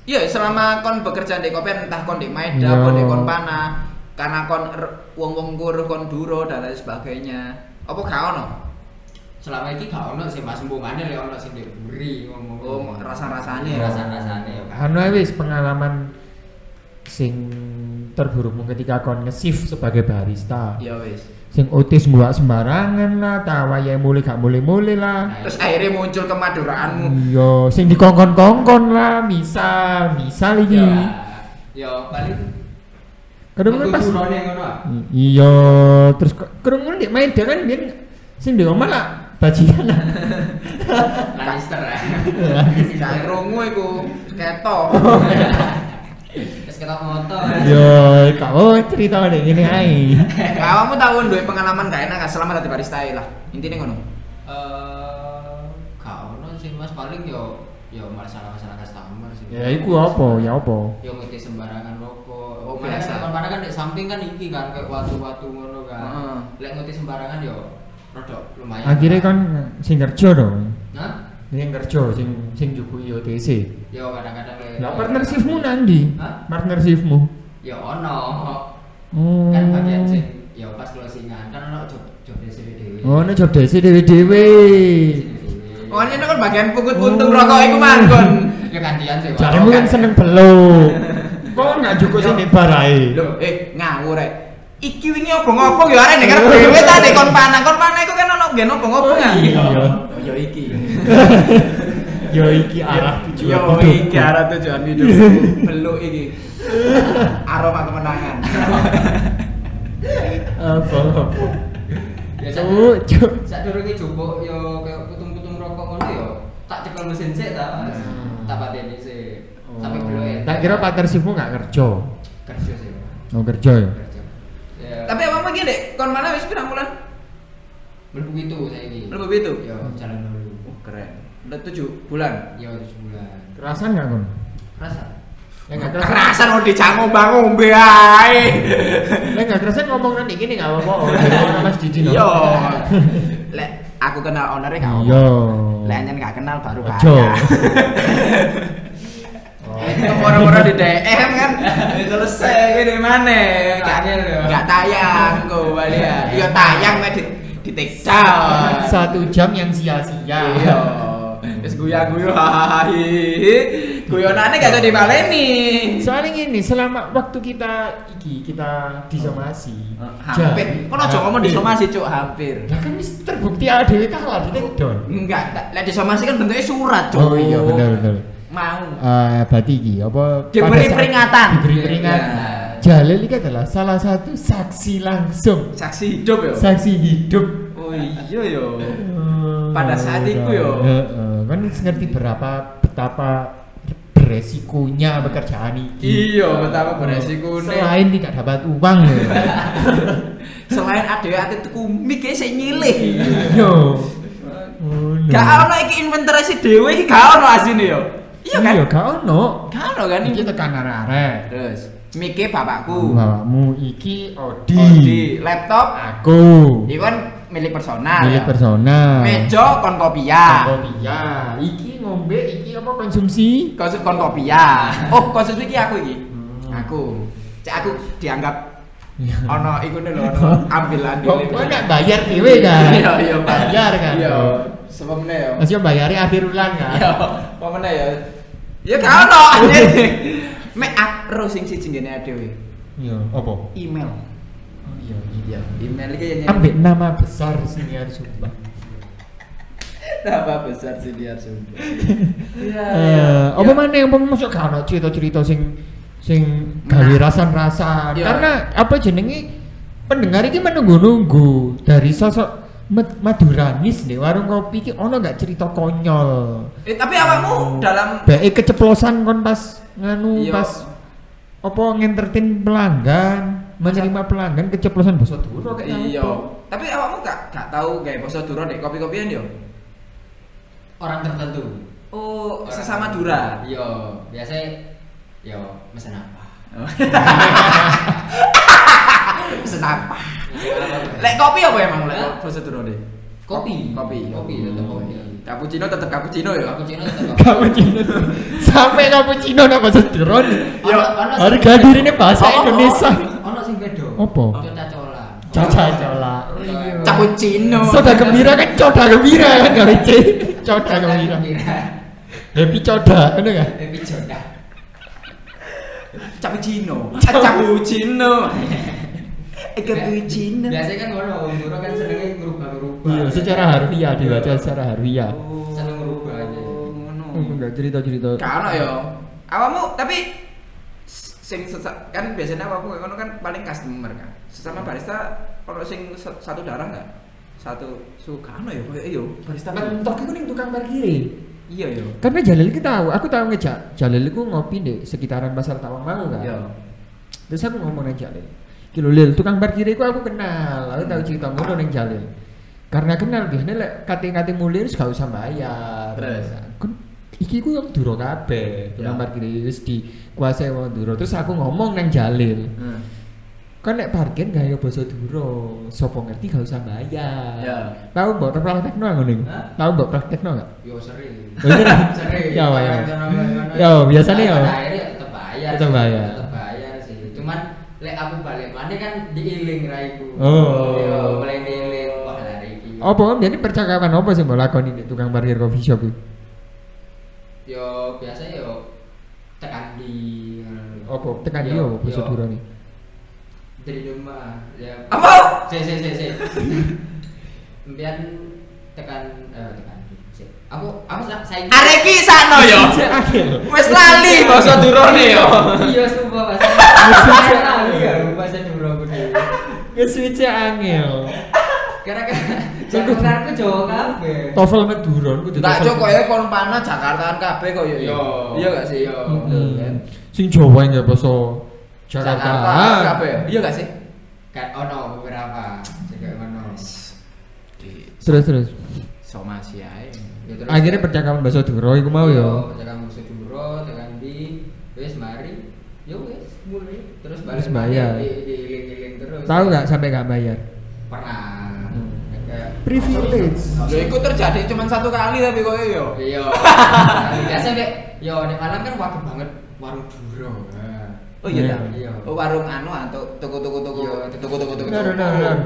Speaker 1: Iya, selama kon bekerja di kopi entah kon di Maeda,
Speaker 3: Iya.
Speaker 1: kon di kon Pana, karena kon er- wong-wong kuruh kon duro dan lain sebagainya. Apa gak ono?
Speaker 2: selama ini gak ono sih Mas Mbok Mandel ya ono sing diburi ngomong.
Speaker 1: Oh, rasa-rasane.
Speaker 2: Rasa-rasane ya. Kan.
Speaker 3: Anu ae wis pengalaman sing terburukmu ketika kon nge-shift sebagai barista.
Speaker 1: Ya wis.
Speaker 3: Sing otis gua sembarangan lah, tawa ya mulai gak mulai-mulai lah.
Speaker 2: Nah,
Speaker 1: Terus akhirnya muncul <laughs> kemaduraanmu.
Speaker 3: Iya, sing dikongkon-kongkon lah, misal, misal iki.
Speaker 2: ya, ya paling
Speaker 3: Kadang kan pas
Speaker 2: keturunannya ngono. ah.
Speaker 3: I- Iya, terus kok- kadang kan dek main dia kan biar sing di omah lah bajingan
Speaker 2: <laughs>
Speaker 3: lah.
Speaker 2: Lannister ya.
Speaker 1: Gak
Speaker 2: <laughs>
Speaker 1: krungu iku ketok.
Speaker 2: Terus kita
Speaker 1: <laughs>
Speaker 2: motor.
Speaker 3: Yo, kau cerita deh gini ae.
Speaker 1: Kamu tahu duwe pengalaman gak enak gak selama dadi barista ae lah. Intine ngono.
Speaker 2: Eh, gak ono sih Mas paling yo yo masalah-masalah customer sih.
Speaker 3: Ya iku apa? Ya apa?
Speaker 2: Yo ngerti sembarangan rokok.
Speaker 1: Oh,
Speaker 2: Oh,
Speaker 1: biasa.
Speaker 2: biasa. Kan kan di samping kan iki kan kayak watu-watu ngono kan.
Speaker 1: Heeh.
Speaker 2: Lek ngerti sembarangan yo rodok lumayan.
Speaker 3: Akhirnya kan sing kerja dong.
Speaker 2: Hah?
Speaker 3: Sing kerja sing sing juku IOTC.
Speaker 2: Yo kadang-kadang lek.
Speaker 3: Lah partnershipmu nandi?
Speaker 2: Hah?
Speaker 3: Partnershipmu.
Speaker 2: Yo ono.
Speaker 3: Oh.
Speaker 2: Kan bagian sing yo pas closingan kan ono job job dhewe-dhewe.
Speaker 3: Oh, ini job desi dewe-dewe.
Speaker 1: Oh, ini kan bagian pungut puntung rokok iku
Speaker 3: Oh.
Speaker 1: mangkon.
Speaker 2: Yo gantian sih. Mas.
Speaker 3: Jaremu kan seneng belok. Kok nggak cukup sing di bar ae?
Speaker 1: Loh, eh ngawur rek. Iki wingi obong-obong ya arek nek arep dhewe ta nek kon panah. Kon panah iku kan ono gen obong-obong ya.
Speaker 3: Iya.
Speaker 1: Oh, Ya iki.
Speaker 3: Yo iki arah
Speaker 1: Yo
Speaker 3: tujuan hidup.
Speaker 1: iki arah tujuan hidupku. Beluk iki. Aroma
Speaker 3: <laughs>
Speaker 1: kemenangan.
Speaker 3: Apa?
Speaker 2: Ya
Speaker 3: Cuk, cuk.
Speaker 2: Sak durunge jupuk yo kayak putung-putung rokok ngono yo tak cekel mesin sik ta. Mas.
Speaker 3: Hmm.
Speaker 2: Tak pateni sik. Sampai ya?
Speaker 3: Oh,
Speaker 2: beloke.
Speaker 3: Tak kira partnershipmu nggak kerja.
Speaker 2: kerja sih. Mas.
Speaker 3: Oh kerja ya.
Speaker 2: Kerja. Ya,
Speaker 1: Tapi apa iki, Dek? Kon mana wis pirang bulan?
Speaker 2: mlebu itu saya ini.
Speaker 1: Mlebu gitu? itu?
Speaker 2: Yo jalan dulu.
Speaker 1: Oh, keren. Udah 7 bulan.
Speaker 2: Yo sebulan.
Speaker 3: Kerasan nggak kon?
Speaker 2: Rasa.
Speaker 3: Ya nggak kerasan.
Speaker 1: Kerasan udah dicanggung bang ombe ae.
Speaker 3: Lah nggak Ya, kerasan ngomong nanti gini nggak apa-apa. Oh, dari mana Mas Didi no?
Speaker 1: Yo. Lek aku kenal ownernya gak apa.
Speaker 3: Yo.
Speaker 1: Lek anjen gak kenal baru
Speaker 3: Ojo.
Speaker 1: kaya. Moro-moro di DM kan selesai gini mana? Gak
Speaker 2: Tayang ya.
Speaker 1: gak tayang kok balian. Yo tayang mek di di take down.
Speaker 3: Satu jam yang sia-sia.
Speaker 1: Iya. Wis guyu-guyu hahaha. Guyonane gak iso dibaleni.
Speaker 3: Soalnya gini, selama waktu kita iki kita disomasi.
Speaker 1: Oh. Hampir. Kok ojo ngomong disomasi cuk hampir.
Speaker 3: Lah kan wis terbukti ADW kalah di take down.
Speaker 1: Enggak, tak- lek disomasi kan bentuknya surat, Cuk.
Speaker 3: Oh iya benar benar.
Speaker 1: Mau.
Speaker 3: Eh berarti iki apa
Speaker 1: Diberi
Speaker 3: pada saat-
Speaker 1: peringatan.
Speaker 3: Diberi peringatan.
Speaker 1: Iya.
Speaker 3: Jalil iki adalah salah satu saksi langsung,
Speaker 1: Saksi hidup yo.
Speaker 3: saksi hidup.
Speaker 1: Oh iya yo. Pada saat itu yo.
Speaker 3: Heeh, Eh, kan wis ngerti berapa betapa beresikonya pekerjaan iki. Eh,
Speaker 1: Iya, betapa beresiko nih.
Speaker 3: Selain tidak dapat
Speaker 1: <laughs>
Speaker 3: uang yo.
Speaker 1: Selain ada ati tuku mic e sik nyilih.
Speaker 3: Yo.
Speaker 1: Gak ono iki inventarisasi dhewe iki gak ono asine yo. Iya kan?
Speaker 3: Iya gak ono.
Speaker 1: Gak ono kan
Speaker 3: Iki
Speaker 1: iki.
Speaker 3: tekan arek-arek.
Speaker 1: Terus mic e bapakku.
Speaker 3: Bapakmu iki Odi.
Speaker 1: Oh, di laptop
Speaker 3: Aku.
Speaker 1: iki kan milik personal.
Speaker 3: Milik
Speaker 1: ya.
Speaker 3: persona.
Speaker 1: Meja kon kopiah.
Speaker 3: Kopinya. Iki ngombe, iki apa konsumsi?
Speaker 1: Konsum kon kopiah. Oh, konsum iki aku iki.
Speaker 3: Hmm.
Speaker 1: Aku. Cek aku dianggap ono iku nih lho <laughs> ono ambilan
Speaker 3: Kok kok nak bayar dewe kan?
Speaker 1: Iya, iya, Pak.
Speaker 3: bayar kan.
Speaker 1: Iya, sepemene yo.
Speaker 3: Masih bayari akhir bulan kan?
Speaker 1: Iya, pemene yo. Ya gak ono anjir. Mek akro sing siji ngene dhewe.
Speaker 3: Iya, apa?
Speaker 1: Email.
Speaker 3: Oh, iya, iya.
Speaker 1: Iya, email iki yang
Speaker 3: Ambek nama besar sini harus sumpah.
Speaker 1: Tambah besar sih biar Sunda. Iya.
Speaker 3: Eh,
Speaker 1: iya.
Speaker 3: apa mana yang pun masuk gak ono cerita-cerita sing sing gawe
Speaker 1: Nah.
Speaker 3: rasan-rasan.
Speaker 1: Iya.
Speaker 3: Karena apa jenenge pendengar ini menunggu-nunggu dari sosok Mad- Maduranis di warung kopi iki ono gak cerita konyol.
Speaker 1: Eh, tapi awakmu dalam
Speaker 3: Baik keceplosan kon pas nganu
Speaker 1: Ah. Iya.
Speaker 3: pas apa ngentertain pelanggan, menerima pelanggan keceplosan basa duro kayak
Speaker 1: Iya.
Speaker 3: apa.
Speaker 1: Tapi awakmu gak gak tahu gak poso duro dek kopi-kopian yo.
Speaker 2: orang tertentu
Speaker 1: Oh,
Speaker 2: Orang
Speaker 1: sesama
Speaker 2: tertentu.
Speaker 1: dura.
Speaker 2: iya biasanya yo mesen apa
Speaker 1: Oh.
Speaker 2: <laughs>
Speaker 1: Senapa?
Speaker 2: Mesen apa?
Speaker 1: Lek kopi apa emang lek
Speaker 2: Hah?
Speaker 1: poso duro dek?
Speaker 2: kopi
Speaker 1: Kopi. ya.
Speaker 2: kopi tetap kopi
Speaker 1: Cappuccino tetep cappuccino yo.
Speaker 2: cappuccino tetap kopi
Speaker 3: Cappuccino. Sampai cappuccino nang basa duro. Ya,
Speaker 1: Yo,
Speaker 3: Harga dirine bahasa
Speaker 1: Oh, oh, oh.
Speaker 3: Indonesia.
Speaker 2: ono sing beda
Speaker 3: Apa?
Speaker 2: coca cola
Speaker 3: Caca cola.
Speaker 1: Iya. Cappuccino.
Speaker 3: Soda gembira kan coda gembira kan gak lucu. Coda
Speaker 2: Coca
Speaker 3: gembira.
Speaker 2: gembira
Speaker 3: Happy kan? coda, ada nggak?
Speaker 2: baby coda
Speaker 1: Cappuccino. Ah, Cappuccino. Eh, Cappuccino.
Speaker 2: biasanya kan ngono wong Turo kan senengnya ngerubah-ngerubah
Speaker 3: Iya, secara harfiah dibaca secara harfiah.
Speaker 2: Seneng ngerubah aja.
Speaker 1: Ngono.
Speaker 3: Enggak cerita-cerita.
Speaker 1: Kano yo. Awakmu tapi s- sing sesa- kan biasanya awakmu kono kan paling customer kan. Sesama barista ono sing se- satu darah enggak? Satu su kano yo koyo yo barista.
Speaker 3: Mentok itu nih tukang parkir.
Speaker 1: Iya yo.
Speaker 3: Karena Jalil kita tahu, aku tahu ngejak. Jalil ku ngopi deh sekitaran pasar Tawang Mau kan.
Speaker 2: Iya.
Speaker 1: Yo.
Speaker 3: Terus aku ngomong nang Jalil. Kilo Lil, tukang parkir iku aku kenal. Aku tahu cerita ngono nang Jalil. Karena kenal biasanya lek kate-kate mulir gak usah bayar.
Speaker 1: Terus?
Speaker 3: Kon- iki ku yang duro kabeh. Tukang
Speaker 1: Ya.
Speaker 3: parkir wis dikuasai wong duro. Terus aku ngomong nang Jalil.
Speaker 1: Hmm.
Speaker 3: Kan nek parkir gak ya basa duro. Sopo ngerti gak usah bayar.
Speaker 1: Ya.
Speaker 3: Tahu mbok praktekno ngono iku?
Speaker 2: Hah?
Speaker 3: Tahu mbok praktekno gak?
Speaker 2: Yo
Speaker 3: <laughs>
Speaker 2: sering.
Speaker 3: Bener.
Speaker 2: Sering.
Speaker 3: Ya, Pak, ya.
Speaker 2: Orang-orang-
Speaker 3: Ya, biasanya ya.
Speaker 2: Pada akhirnya tetep bayar.
Speaker 3: Tetep
Speaker 2: sih,
Speaker 3: bayar.
Speaker 2: Tetep bayar sih. Cuman lek aku balik mana kan diiling raiku.
Speaker 3: Oh.
Speaker 2: Yo, mulai diiling wah lari iki.
Speaker 3: Apa om jadi percakapan apa sih mbok lakoni di tukang parkir coffee shop iku?
Speaker 2: Yo biasa yo tekan di
Speaker 3: Apa tekan dia
Speaker 2: Yo,
Speaker 3: apa
Speaker 1: Ya.
Speaker 3: basa
Speaker 2: yo.
Speaker 3: duro nih?
Speaker 2: dari rumah. Ya.
Speaker 1: Apa?
Speaker 2: Si si si
Speaker 3: <laughs>
Speaker 2: si. Kemudian tekan eh, tekan di. Si. Aku aku sa- saiki.
Speaker 1: Areki sano yo. Wes lali basa durone yo.
Speaker 2: Iya, sumpah Mas.
Speaker 3: Maksudnya-
Speaker 2: Lali ya, bahasa dulu aku dulu.
Speaker 3: Nge-switch angel.
Speaker 2: Karena kan Jakarta aku Jawa kabeh.
Speaker 3: Tovel Madura niku
Speaker 1: Tak cok koyo kon panah Jakartaan kabeh koyo yo. Iya gak sih?
Speaker 2: Yo.
Speaker 3: Hmm. Sing Jawa nggak basa Jakarta.
Speaker 1: Jakarta kabeh. Iya gak sih?
Speaker 2: Kan ono beberapa juga ono.
Speaker 3: Terus terus.
Speaker 1: Somasi ae.
Speaker 2: Ya, terus-
Speaker 3: Akhirnya percakapan basa duro iku mau ya.
Speaker 2: Tekan musuh duro, tekan di wis mari. Yo wis mulai terus
Speaker 3: Terus bayar.
Speaker 2: Di, di, diiling-iling terus.
Speaker 3: Tahu nggak sampai nggak bayar?
Speaker 2: Pernah.
Speaker 3: Hmm.
Speaker 2: Kayak-
Speaker 3: Privilege.
Speaker 1: Lho iku terjadi cuma satu kali tapi kok yo. <laughs>
Speaker 2: Iya. Biasa dek, yo nek malam kan waktu banget warung duro. Nah.
Speaker 1: Oh iya
Speaker 3: Iya.
Speaker 1: tak?
Speaker 2: Iya.
Speaker 1: Oh warung anu antuk tuku-tuku-tuku.
Speaker 2: Iya,
Speaker 1: Tuku-tuku-tuku.
Speaker 2: Benar,
Speaker 3: Benar benar benar.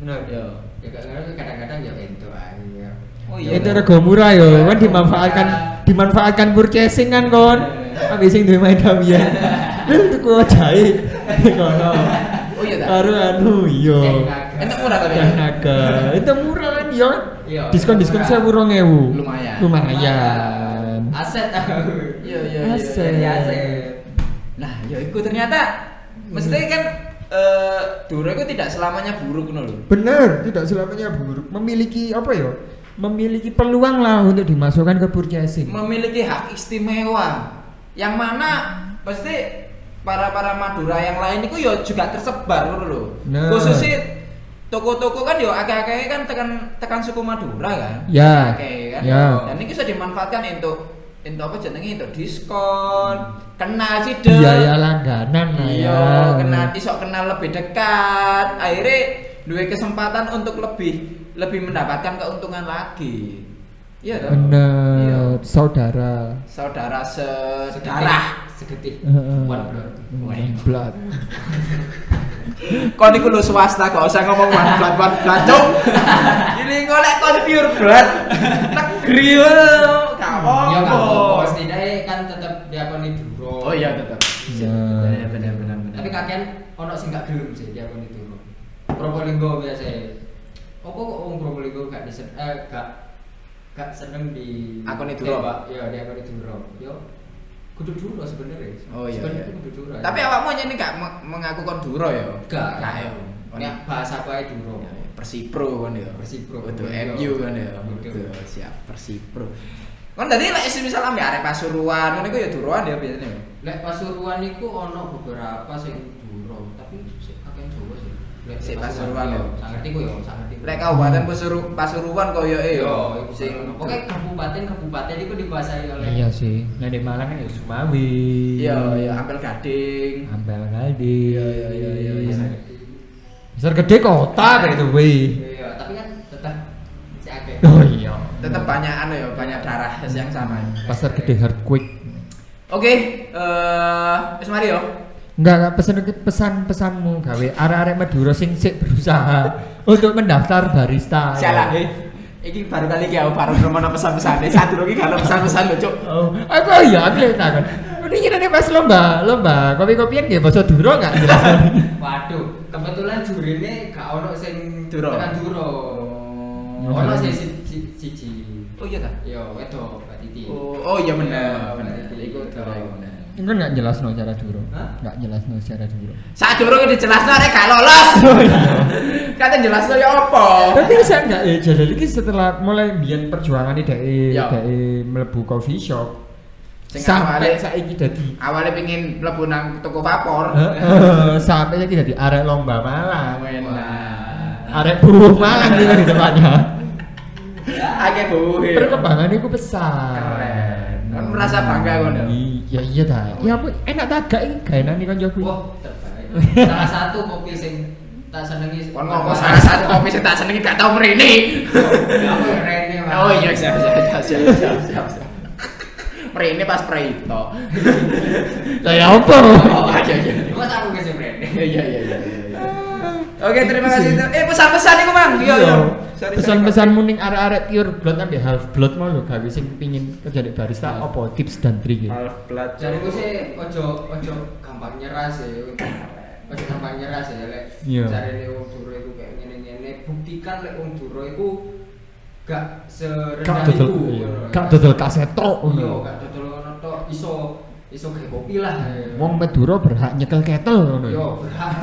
Speaker 3: Benar.
Speaker 1: Yo.
Speaker 2: Ya kadang- kadang-kadang ya ento aja.
Speaker 1: Oh iya.
Speaker 3: Itu rego murah yo, kan dimanfaatkan dimanfaatkan purchasing kan kon. Habis sing duwe main ya. <laughs> Tuku jahe. <laughs> Kono.
Speaker 1: Oh iya tak? Eh,
Speaker 3: Karo anu yo.
Speaker 2: Eh,
Speaker 1: Enak murah tapi.
Speaker 3: Dan naga. Itu murah kan yo.
Speaker 2: Iya,
Speaker 3: Diskon-diskon
Speaker 2: murah.
Speaker 3: 1000 2000.
Speaker 1: Lumayan.
Speaker 3: Lumayan.
Speaker 2: Aset aku.
Speaker 1: Iya iya iya,
Speaker 3: Aset.
Speaker 1: iya. Nah, yo iku ternyata mesti kan eh duro iku tidak selamanya buruk ngono lho.
Speaker 3: Bener, tidak selamanya buruk. Memiliki apa ya? Memiliki peluang lah untuk dimasukkan ke purchasing.
Speaker 1: Memiliki hak istimewa yang mana pasti para para Madura yang lain itu yo juga tersebar ngono lho.
Speaker 3: Nah.
Speaker 1: Khususnya toko-toko kan yo akeh-akeh kan tekan tekan suku Madura kan.
Speaker 3: Ya.
Speaker 1: Akeh kan.
Speaker 3: Ya.
Speaker 1: Dan ini bisa dimanfaatkan untuk untuk apa jenenge untuk diskon, kenal sih
Speaker 3: Biaya langganan Iya,
Speaker 1: Iya,
Speaker 3: lah ya.
Speaker 1: kenal iso kenal lebih dekat. Akhirnya duwe kesempatan untuk lebih lebih mendapatkan keuntungan lagi. Iya toh? Iya.
Speaker 3: Bener, saudara.
Speaker 1: Saudara sedarah.
Speaker 2: Sedarah. Segetih.
Speaker 3: Heeh.
Speaker 2: One blood.
Speaker 3: One blood.
Speaker 1: <laughs> Kon iku lu swasta gak usah ngomong one blood one blood
Speaker 2: <laughs>
Speaker 1: cung. Ini golek kon pure blood. Negeri yo. Gak
Speaker 2: Ya nggak apa-apa,
Speaker 1: apa-apa.
Speaker 2: setidaknya kan tetep diakoni duro.
Speaker 1: Oh iya tetap.
Speaker 3: Ya.
Speaker 1: Benar benar benar benar.
Speaker 2: Hmm. Tapi kan kakean ono sing gak gelem sih diakoni duro. Probolinggo biasa. Apa kok wong Probolinggo gak disen eh gak gak seneng di
Speaker 1: Akun itu Rob?
Speaker 2: Pak. Iya, di akun itu Rob. Yo kudu duro sebenarnya.
Speaker 1: Oh iya.
Speaker 2: Sebenarnya
Speaker 1: iya.
Speaker 2: kudu duro. ya.
Speaker 1: Tapi awakmu aja ini gak me- mengaku kon duro ya?
Speaker 2: gak
Speaker 1: Gak ya. Kon-
Speaker 2: Nek bahasa aku ae duro.
Speaker 1: Ya, ya. Persipro kan ya.
Speaker 2: Persipro.
Speaker 1: Betul
Speaker 2: Iya.
Speaker 1: MU kan ya.
Speaker 2: Betul.
Speaker 1: Betul. Siap Persipro. Kan tadi lek misalnya ambek arek Pasuruan ngono iku ya duroan ya biasanya. ya.
Speaker 2: Lek Pasuruan niku ono beberapa sing duro, tapi sik akeh Jawa sih. Lek
Speaker 1: Sik Pasuruan, ya.
Speaker 2: yo, sak ngerti ku yo, sak ngerti. ku.
Speaker 1: Lek kabupaten Pasuru Pasuruan koyo e
Speaker 2: Iya,
Speaker 1: ya
Speaker 2: iku
Speaker 1: sing
Speaker 2: sing pokoke kabupaten-kabupaten iku dikuasai oleh
Speaker 4: Iya sih. Nah di Malang kan ya Sumawi.
Speaker 1: iya ya Ampel Gading.
Speaker 4: Ambal Galdi.
Speaker 1: Iya, iya, iya, iya, iya.
Speaker 3: Besar gede kota gitu, by the way.
Speaker 2: Iya, tapi kan tetap si akeh.
Speaker 3: Oh
Speaker 1: Hmm.
Speaker 3: iya.
Speaker 1: Tetap banyak anu ya, banyak darah yang sama. ya.
Speaker 3: Pasar gede earthquake.
Speaker 1: Oke, eh wis mari yo.
Speaker 3: Enggak, enggak pesan pesan pesanmu gawe arek-arek Madura sing sik berusaha <laughs> untuk mendaftar barista.
Speaker 1: Salah. Iki baru kali iki aku baru ngomongno pesan-pesan. Eh, Satu lagi kalau pesan-pesan lho, Cuk.
Speaker 3: Oh, aku oh iya aku lihat takon. Ini kira pas lomba, lomba kopi-kopian nggih basa Duro enggak jelas.
Speaker 1: <laughs>
Speaker 2: Waduh, kebetulan jurine gak ono sing
Speaker 1: Duro.
Speaker 2: tekan duro.
Speaker 3: Oh,
Speaker 2: Ono
Speaker 3: iya.
Speaker 2: sing si- si- siji.
Speaker 1: Oh iya ta?
Speaker 2: Yo, wedok Mbak Titi.
Speaker 1: Oh, oh iya bener.
Speaker 2: Iya,
Speaker 1: bener.
Speaker 2: bener.
Speaker 1: Iku
Speaker 2: Iya, bener.
Speaker 3: Engko enggak jelas no cara Duro.
Speaker 2: Hah?
Speaker 3: Enggak jelas no cara Duro.
Speaker 1: Saat durung dijelasno arek gak lolos. Kata jelasno ya opo?
Speaker 3: Berarti bisa enggak ya jadi lagi setelah mulai biyen perjuangan dari
Speaker 1: Ya.
Speaker 3: dari mlebu coffee shop
Speaker 1: Sing
Speaker 3: sampai
Speaker 1: awalnya-
Speaker 3: saiki dadi <laughs>
Speaker 1: Awalnya pengen mlebu nang toko vapor. Nah,
Speaker 3: Eh, eh, sampai saiki dadi arek lomba malang.
Speaker 1: Enak.
Speaker 3: Arek buruh malang gitu di depannya.
Speaker 1: Akeh buhe.
Speaker 3: Perkembangan itu besar.
Speaker 1: Iya. Keren. Kan merasa bangga kau, Del.
Speaker 3: Iya iya ta. Ya apa enak ta gak iki gaenan iki kanca
Speaker 2: Wah, terbaik. Salah satu kopi sing tak senengi.
Speaker 1: Kon ngomong salah satu kopi sing tak senengi gak tau mrene.
Speaker 2: Apa yang rene, Mas?
Speaker 1: Oh iya siap siap siap siap siap siap. siap. Mrene pas preito.
Speaker 3: Saya ya apa?
Speaker 1: Oh iya iya.
Speaker 2: Mas aku ke sing rene.
Speaker 1: Iya iya iya iya. iya. Oke, terima kasih. Eh, pesan-pesan iku, Bang. Iya, iya. Sorry, sorry.
Speaker 3: Pesan-pesan muning arek-arek pure blood ambek half blood mau lho gawe sing pingin kerja di barista apa tips dan trik ya?
Speaker 1: Iya. Half blood.
Speaker 2: Jadi gue sih ojo ojo gampang nyerah sih. Ojo gampang nyerah sih lek
Speaker 3: Iya.
Speaker 2: carane wong duro iku kayak ngene-ngene buktikan lek wong duro iku gak
Speaker 3: Kak
Speaker 2: serendah
Speaker 3: dodol,
Speaker 2: iku.
Speaker 3: iya.
Speaker 2: ngono.
Speaker 3: kak dodol kaset tok
Speaker 2: Iya,
Speaker 3: ngono.
Speaker 2: gak dodol ngono tok iso iso kayak kopi lah.
Speaker 1: Iya.
Speaker 3: Wong Madura berhak nyekel ketel ngono.
Speaker 2: Yo,
Speaker 3: <laughs>
Speaker 2: berhak.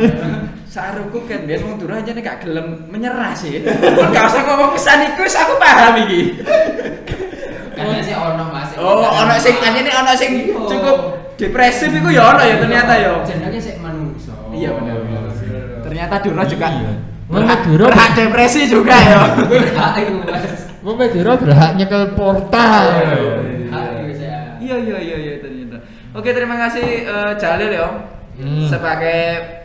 Speaker 1: Saruku kan biasa wong turu aja nih gak gelem menyerah sih. Kon gak usah ngomong pesan iku, wis aku paham iki.
Speaker 2: Kayaknya sih ono Mas.
Speaker 1: Oh, ono sing anjene ono sing
Speaker 2: Iya.
Speaker 1: cukup depresif iku ya ono ya ternyata ya.
Speaker 2: Jenenge sik manungso.
Speaker 1: Iya benar.
Speaker 2: Iya,
Speaker 1: Ternyata Dura juga
Speaker 3: Iya.
Speaker 1: berhak-
Speaker 3: Mana Dura?
Speaker 1: berhak depresi juga ya.
Speaker 2: Berhak iku Mas.
Speaker 3: Wong Madura berhak nyekel portal.
Speaker 2: Berhak iku saya.
Speaker 1: Iya iya iya iya ternyata. Oke terima kasih eh, Jalil ya.
Speaker 3: Hmm.
Speaker 1: Sebagai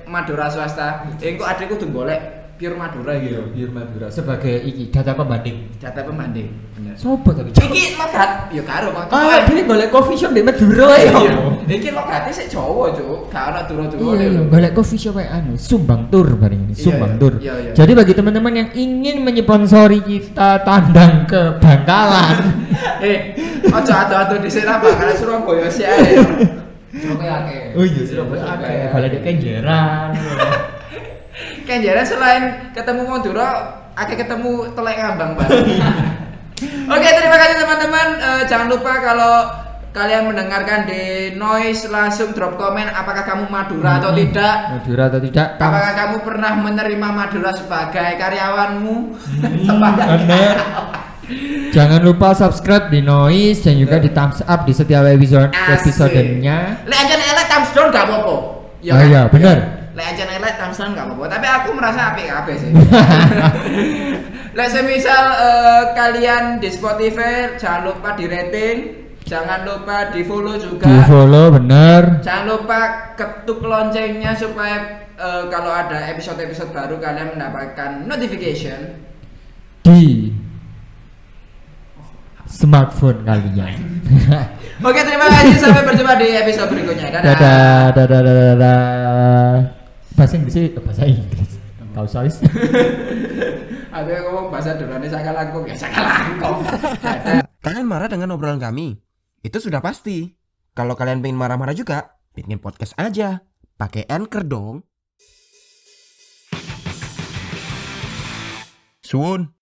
Speaker 1: Madura swasta, eh kok adekku tuh golek pure Madura
Speaker 3: Iya,
Speaker 1: gitu.
Speaker 3: biar Madura sebagai iki data pembanding.
Speaker 1: Data pembanding. Bener.
Speaker 3: Sopo tapi.
Speaker 1: Iki logat ya karo Pak.
Speaker 3: Ah, dene golek coffee shop di Madura ya.
Speaker 1: Iya. Iki logatnya sik Jawa, Cuk. Gak ono Dura-Dura.
Speaker 3: Iya, iya, golek coffee shop kayak anu, Sumbang Tour bareng ini,
Speaker 1: Iya,
Speaker 3: Sumbang
Speaker 1: iya.
Speaker 3: Tour.
Speaker 1: Iya, iya.
Speaker 3: Jadi bagi teman-teman yang ingin menyponsori kita tandang ke
Speaker 1: <laughs>
Speaker 3: Bangkalan,
Speaker 1: Eh, ojo ado-ado dhisik ra bakal Surabaya sih ae.
Speaker 2: Surabaya akeh.
Speaker 3: oh iya, Surabaya
Speaker 2: à.
Speaker 3: ada golek di Kenjeran.
Speaker 1: Kenjara selain ketemu Madura, akeh ketemu telek ngambang
Speaker 3: <laughs>
Speaker 1: Pak. Oke, terima kasih teman-teman. Eh, jangan lupa kalau kalian mendengarkan di noise langsung drop komen apakah kamu Madura
Speaker 3: Mm-hmm.
Speaker 1: atau tidak.
Speaker 3: Madura atau tidak?
Speaker 1: Apakah kamu pernah menerima Madura sebagai karyawanmu?
Speaker 3: Mm-hmm.
Speaker 1: <laughs> Sebagai
Speaker 3: Hmm, Bener. Jangan lupa subscribe di Noise dan juga di thumbs up di setiap episode
Speaker 1: Asik.
Speaker 3: episodenya.
Speaker 1: Lek aja elek thumbs down gak apa-apa. Ya kan?
Speaker 3: Ah, iya, bener.
Speaker 1: Lek aja elek thumbs down gak apa-apa, tapi aku merasa apik kabeh
Speaker 3: <laughs>
Speaker 1: sih. Lek semisal eh, kalian di Spotify jangan lupa di rating, jangan lupa di follow juga.
Speaker 3: Di follow bener.
Speaker 1: Jangan lupa ketuk loncengnya supaya eh, kalau ada episode-episode baru kalian mendapatkan notification.
Speaker 3: di smartphone kalian.
Speaker 1: Oke, terima kasih sampai berjumpa di episode berikutnya. Dadah.
Speaker 3: dadah, dadah, dadah, dadah. Bahasa Inggris sih, bahasa Inggris. Kau usah wis.
Speaker 1: Aku yang ngomong bahasa Durane sakalangkung ya sakalangkung. Dadah.
Speaker 5: Kalian marah dengan obrolan kami? Itu sudah pasti. Kalau kalian pengen marah-marah juga, bikin podcast aja. Pakai Anchor dong. Suun.